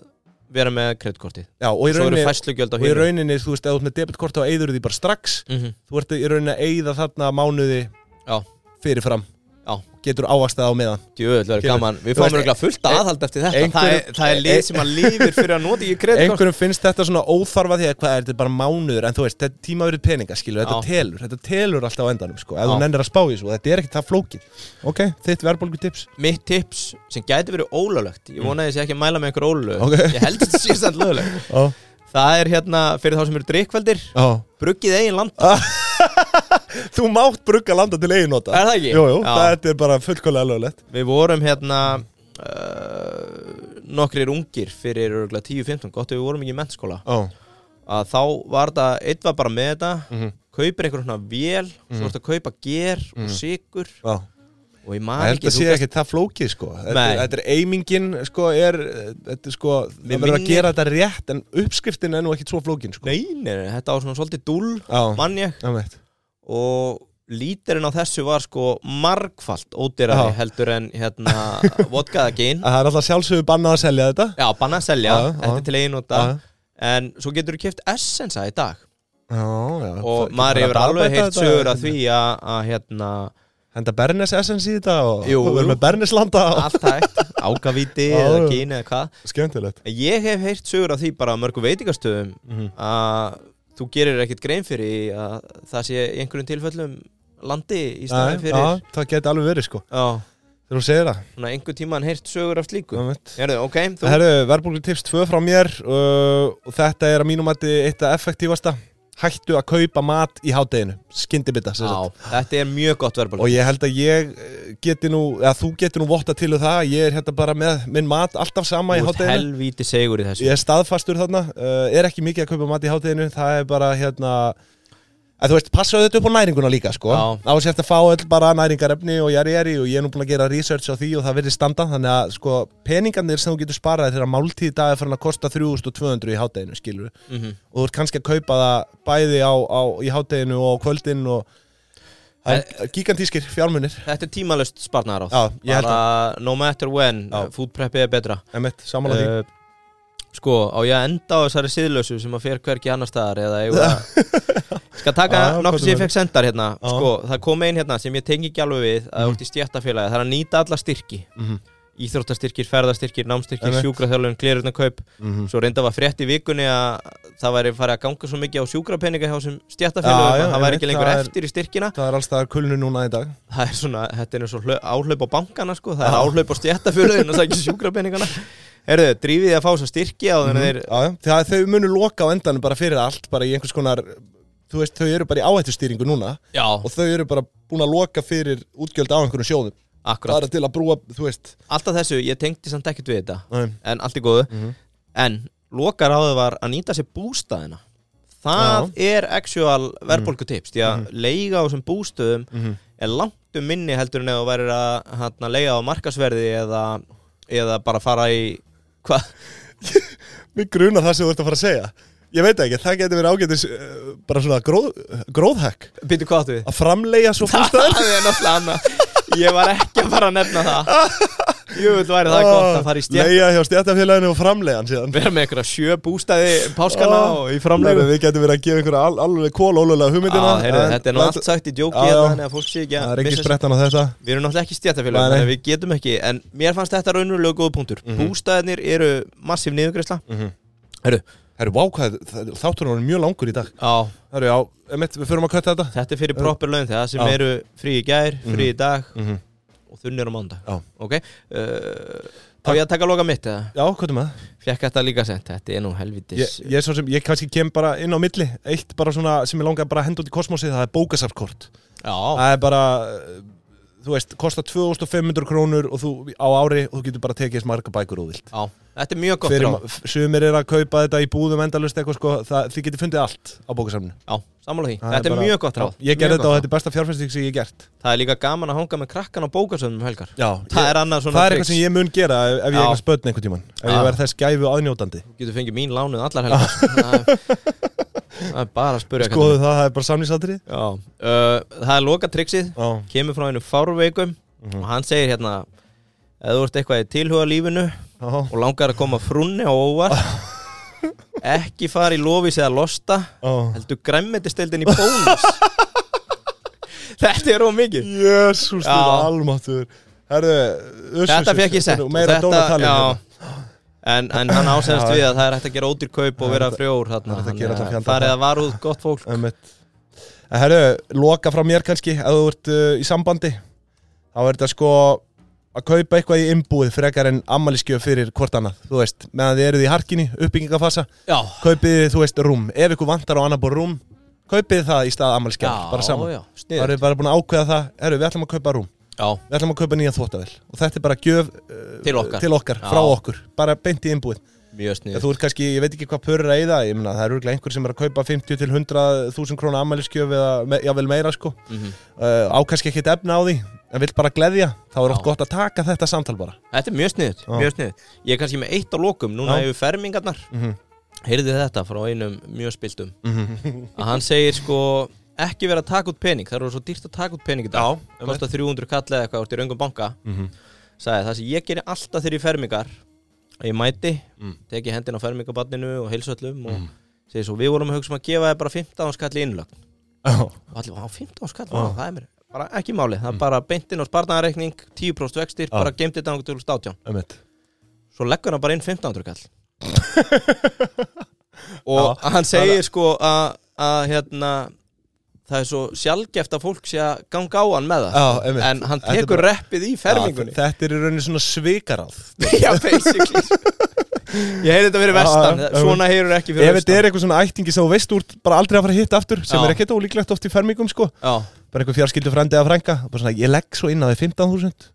B: vera með kreditkortið
A: já, og í
B: Svo eru
A: rauninni
B: fæslugjöld á
A: og í
B: hinu
A: rauninni, þú veist, ef þú ert með debitkort þá eyður því bara strax,
B: Mhm.
A: þú ert í rauninni að eyða þarna mánuði
B: Já.
A: fyrirfram
B: Já.
A: getur ávastað á meðan
B: Djöfull verður
A: Skilur.
B: gaman
A: Þú
B: Við
A: veist,
B: fáum röglega fullt
A: ein-
B: aðhald eftir þetta
A: einhverjum-
B: það, er, e- það er lið sem að lífir fyrir að nota ekki kreditkort
A: einhverjum finnst þetta svona óþarfa því að hvað er þetta er bara mánuður en þú veist, þetta er tímaverið peninga skilur, þetta
B: Já.
A: telur, þetta telur alltaf á endanum sko, ef
B: Já.
A: þú nennir að spá í þessu, og þetta er ekkert það flókið ok, þitt verðbólgu tips
B: Mitt tips sem gæti verið ólöglegt Ég vona að ég sé ekki að mæla með einhver ólög
A: Ok.
B: Ég held þetta sé samt löglegt
A: oh.
B: Það er hérna fyrir þá sem eru drikkveldir
A: Oh.
B: Bruggið eigin land
A: þú mátt brugga landa til eigin nota
B: Er það ekki?
A: Jú, jú,
B: Já.
A: þetta er bara fullkólega lögulegt
B: Við vorum hérna uh, Nokkrir ungir fyrir örugglega 10-15 Gott ef við vorum ekki í mentskóla
A: oh.
B: að þá var þetta, eitt var bara með þetta
A: Mhm.
B: Mhm. kaupir einhver svona vél, svo ertu Mhm. að kaupa ger og sigur
A: oh.
B: og ég
A: Ég
B: man
A: held
B: ekki
A: að
B: þú
A: sé
B: gast-
A: ekki það flókið sko þetta,
B: Nei.
A: þetta er eimingin sko, er, eh, þetta er sko
B: Mér
A: Það verður að
B: minnir-
A: gera þetta rétt en uppskriftin er nú ekki svo flókin sko
B: Nei, nei, nei, þetta var svona svolítið dúll
A: Já,
B: mann ég
A: það veit
B: og lítirinn á þessu var sko margfalt ódýrari
A: Já.
B: heldur en hérna vodkaða gín
A: Það er alltaf sjálfsögur bannað að selja þetta
B: Já, banna að selja,
A: Já, já.
B: þetta er til einu og
A: Já,
B: En svo getur þú keft essensa í dag
A: já, já
B: Og maður hefur alveg heilt sögur að því að, að hérna,
A: Henda Bernes Essence í þetta og
B: Jú,
A: við
B: jú.
A: erum með Bernes landa og...
B: allt hægt, ágavíti
A: Já,
B: eða
A: já.
B: gín eða hvað
A: Skemmtilegt
B: En Ég hef heilt sögur af því bara á mörgum veitingastöðum
A: Mhm.
B: að þú gerir ekkert grein fyrir að það sé í einhverjum tilfellum landi í
A: Já,
B: staðin fyrir
A: já, það geti alveg verið sko
B: Já,
A: Þegar hún segir það,
B: svona einhver tíma hann heilt sögur af slíku
A: það veit
B: Hérðu, ok, þú
A: Herru, verðbólgu tips 2 frá mér uh, og þetta er að mínum mati eitt að effektífasta Hættu að kaupa mat í hádeginu Skyndibita sem sagt.
B: Já, þetta er mjög gott verbal
A: Og ég held að ég eh, geti nú eða þú geti nú votta til og það ég er hérna bara með minn mat alltaf sama í
B: Þú ert
A: hádeginu
B: helvíti segur í þessu
A: Ég er staðfastur þarna, uh, er ekki mikið að kaupa mat í hátteginu, það er bara hérna að þú veist, passaðu þetta upp á næringuna líka sko,
B: Já.
A: á þess eftir að fá öll bara næringarefni og jari jari og ég er nú búin að gera research á því og það verður standa, þannig að sko peningarnir sem þú getur sparað þegar máltíð í dag er farin að kosta 3200 í hátteginu skilur
B: mm
A: og þú ert kannski að kaupa það bæði á, á, í hátteginu og á kvöldin og það er gigantískir fjármunir,
B: Þetta er tímalust sparnaráð
A: Já, ég held
B: Bara no matter when,
A: Já.
B: uh, food preppið er betra
A: emitt, samanlega því
B: Eh, Sko, á ég að enda á þessari siðlausu sem að fer hverki annar staðar eða ég að... Skal taka
A: Já, hvað
B: nokkuð sem
A: þú
B: ég fekk sendar hérna
A: Já.
B: Sko, það kom einn hérna sem ég tengi ekki alveg við að
A: Mhm.
B: þú ert í stjættafélagi Það er að nýta alla styrki
A: Mhm.
B: Íþróttastyrkir, ferðastyrkir, námstyrkir,
A: Einmitt.
B: sjúkraþjálun, glirutnakaup
A: Mhm.
B: Svo reynda var frétt í vikunni að það væri farið að ganga svo mikið á sjúkrapeninga hjá sem
A: Já,
B: stjættafélagum
A: já,
B: að það væri ekki
A: einmitt,
B: lengur
A: það er-
B: eftir í styrkina
A: Það er allstað kulnu núna í dag
B: það er svona, þetta er eins og hlau- áhlaup á bankana sko, það er áhlaup á stjættafjörðin og það er ekki sjúkrapenningana Herðu, drífið þið að fá þess að styrki á þannig þeir
A: Já, já. Það, þau munu loka á endanum bara fyrir allt bara í einhvers konar, þú veist, þau eru bara í áhættustýringu núna
B: Já,
A: og þau eru bara búin að loka fyrir útgjöld á einhverjum sjóðum
B: akkurat,
A: bara til að brúa, þú veist
B: alltaf þessu, ég tengdi samt ekkert við þetta
A: Nei.
B: en allt í góðu
A: Mhm.
B: en lokar á þau var að nýta sér bústæðina það er actual verðbólkutips því að leiga á þessum bústöðum
A: Mhm.
B: er langt um minni heldur en ef þú værir að hana, leiga á markasverði eða, eða bara fara í hvað,
A: Mér grunar það sem þú ert að fara að segja Ég veit ekki, það getur verið ágætis eh, bara svona gróð, gróðhekk
B: býttu hvað áttu við?
A: að framleiða svo
B: það
A: bústæðar
B: er náttúrulega annað Ég var ekki að fara að nefna það Jöfull væri það gott að fara í stjætt
A: Leiða Ah, hjá stjættafélaginu og framleiðan síðan
B: Verða með einhverja sjö bústæði páskana
A: Ah,
B: og í framlegu
A: Nei, Við getum verið að gefa einhverja al, alveg kólólulega hugmyndina
B: ah, heyrðu,
A: en
B: Þetta er nú
A: læt-
B: allt sagt í djóki
A: Já,
B: hérna
A: já.
B: Þannig að fólk sé ekki
A: Það
B: að
A: er ekki
B: missa sig.
A: sprettan á þetta
B: Við erum náttúrulega ekki
A: Nei,
B: stjættafélag
A: nei.
B: Þannig að við getum ekki En mér fannst þetta raunverulega góð punktur Bústæðinir eru massíf niðurgreisla
A: Mhm.
B: Heyrðu,
A: Herru, vá, hvað, þátturinn var mjög langur í dag
B: á,
A: Herru, já, emitt, við förum að kötta þetta
B: Þetta er fyrir proper laun þegar sem
A: Já.
B: eru frí í gær, frí í dag
A: Mhm.
B: og þunnir á mánda
A: Já.
B: okay. uh, Á ég að taka loka mitt eða?
A: Já, hvað er maður?
B: Fjekk þetta líka sent, þetta er nú helvitis
A: Ég, ég, er svo sem, ég kannski kem bara inn á milli Eitt bara svona sem ég langaði bara að henda út í kosmosið Það er bókasafkort
B: Já,
A: Það er bara, eh, þú veist, kostar 2500 krónur og þú, á ári og þú getur bara tekið þess marga bækur og vilt
B: já, þetta er mjög gott
A: Fyrir,
B: ráð
A: ma- Sumir er að kaupa þetta í búðum endalust eitthvað sko það, Þið getur fundið allt á bókasafninu
B: Já, sammála því,
A: Það
B: þetta er
A: bara-
B: mjög gott ráð
A: Ég
B: Mjög
A: gerði þetta
B: gott
A: og
B: ráð.
A: þetta er besta fjárfæsting sem ég hef gert
B: Það er líka gaman að hanga með krakkan á bókasöfnum um helgar
A: Já,
B: Það
A: ég,
B: er annað svona
A: það er eitthvað sem ég mun gera ef, ef ég
B: Já. Ah.
A: eignast börn einhvern tímann Ef
B: Já.
A: ég verð þess gæfu aðnjótandi
B: Getur fengið mín lánuð allar helgar Það er- það er bara að spurja
A: Skoðu það, það er bara samlýsatrið
B: Já, uh, það er loka triksið
A: Já,
B: Kemur frá einu fárveikum
A: Mhm.
B: Og hann segir hérna Ef þú ert eitthvað í tilhuga lífinu
A: já,
B: Og langar að koma frunni á óvart Ekki fara í lofis eða losta
A: já
B: Heldur græmmetistildin í bónus Þetta er of mikið
A: Jésús, þú
B: Já.
A: er almáttur Herðu, uss,
B: Þetta
A: uss,
B: fekk ég
A: uss,
B: sett
A: og Meira
B: Þetta-
A: dónatalið
B: já.
A: hérna.
B: en, en hann ásæðast
A: Já,
B: við að það er hægt að gera ódýr kaup og
A: Það er
B: vera
A: hægt að-
B: frjór
A: það
B: þarna
A: er hægt að
B: Þannig
A: gera allan
B: að
A: fjandann.
B: farið að varuð gott fólk
A: Einmitt. En Herðu, loka frá mér kannski Ef þú ert uh, í sambandi Þá er þetta sko Að kaupa eitthvað í innbúið Frekar en ammaliskjöf fyrir hvort annað Þú veist, meðan þið eruð í harkinni Uppbyggingafasa
B: Já,
A: Kaupið þið, þú veist, rúm Ef ykkur vantar á annar búið rúm Kaupið þið það í stað ammaliskjöf Bara saman
B: já,
A: Það
B: sniður
A: eru bara búin að ákveða það Herru, við ætlum að kaupa rúm
B: Já,
A: Við ætlum að kaupa nýja þvóttavel Og þetta er bara gjöf uh,
B: Til okkar.
A: Til okkar,
B: Já.
A: frá okkur Bara beint í innbúið
B: mjög
A: Ég,
B: sniður
A: þú ert kannski, ég veit ekki hvað pörur að eyða ég meina, það eru örugglega einhver sem er að kaupa 50 til 100 þúsund krónu ammæliskjöf eða me, jável meira sko
B: Mhm.
A: uh, á kannski ekkit efna á því en vill bara gleðja þá er oft
B: Já.
A: gott að taka þetta samtal bara
B: Þetta er mjög sniðut,
A: Já.
B: mjög sniðut Ég er kannski með eitt á lokum, núna
A: Já.
B: hefur fermingarnar
A: Mhm.
B: Heyrðu þetta frá einum mjög spiltum
A: Mhm.
B: Að hann segir sko ekki vera að taka út pening Það eru svo dýrt að taka út pening í dag
A: einmitt.
B: Kosta 300 kall eða eitthvað úr í raungum banka
A: Mhm.
B: Sagði það sem ég gerir alltaf þegar ég fermingar að Ég mæti,
A: Mm.
B: teki hendin á fermingabanninu og heilsöllum og segir svo Við vorum að hugsa um að gefa þér bara 15 skall í innlögn
A: Já.
B: og allir, á 15 skall, vá, það er mér bara ekki máli, það er bara beintin og spartnaðareikning 10% vextir,
A: Já.
B: bara geimt þetta ángur til státján
A: Einmitt.
B: svo leggur hann bara inn 1500 kall og hann segir sko að að hérna það er svo sjálfgeft að fólk sé að ganga á hann með það
A: Já, einmitt.
B: en hann
A: Þetta er
B: tekur
A: bara-
B: reppið í fermingunni
A: Já, Þetta er í rauninni svona svikaráð
B: já, basically ég heyrði þetta fyrir
A: Já,
B: vestan,
A: já,
B: svona heyrur ekki fyrir
A: Ef þetta
B: vestan
A: er eitthvað svona ættingi sem þú veist úr bara aldrei að fara að hitta aftur sem
B: Já.
A: er ekkert ólíklegt oft í fermingum sko
B: já,
A: bara einhver fjarskildu frendi eða frænga bara svona ég legg svo inn á því 15.000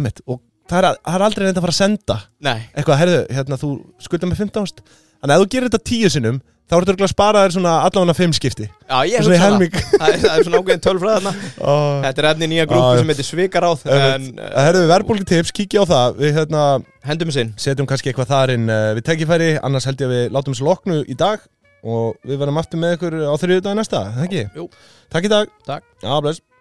A: einmitt og það er, að- það er aldrei reynda að fara að senda
B: nei,
A: eitthvað, herðu, hérna þú skulda með 15.000 þannig að ef þú gerir þetta tíu sinnum þá eru þetta að spara þér svona allavega fimm skipti
B: já, ég
A: Svona í
B: hugsa það
A: helming.
B: það er, það er svona ákveðin tölfræðarna
A: og
B: þetta er efni í nýja grúpu
A: Já, já.
B: sem heitir Svikaráð en
A: einmitt.
B: uh,
A: herðu, verðbólki tips, kíkja á það við hérna,
B: hendum við sinn
A: setjum kannski eitthvað þar inn uh, við tekifæri, annars held ég að við látum þessu loknu í dag og við verðum aftur með ykkur á þriðjudaginn næsta, það ekki?
B: Jú.
A: Takk í dag
B: Takk.
A: Já, bless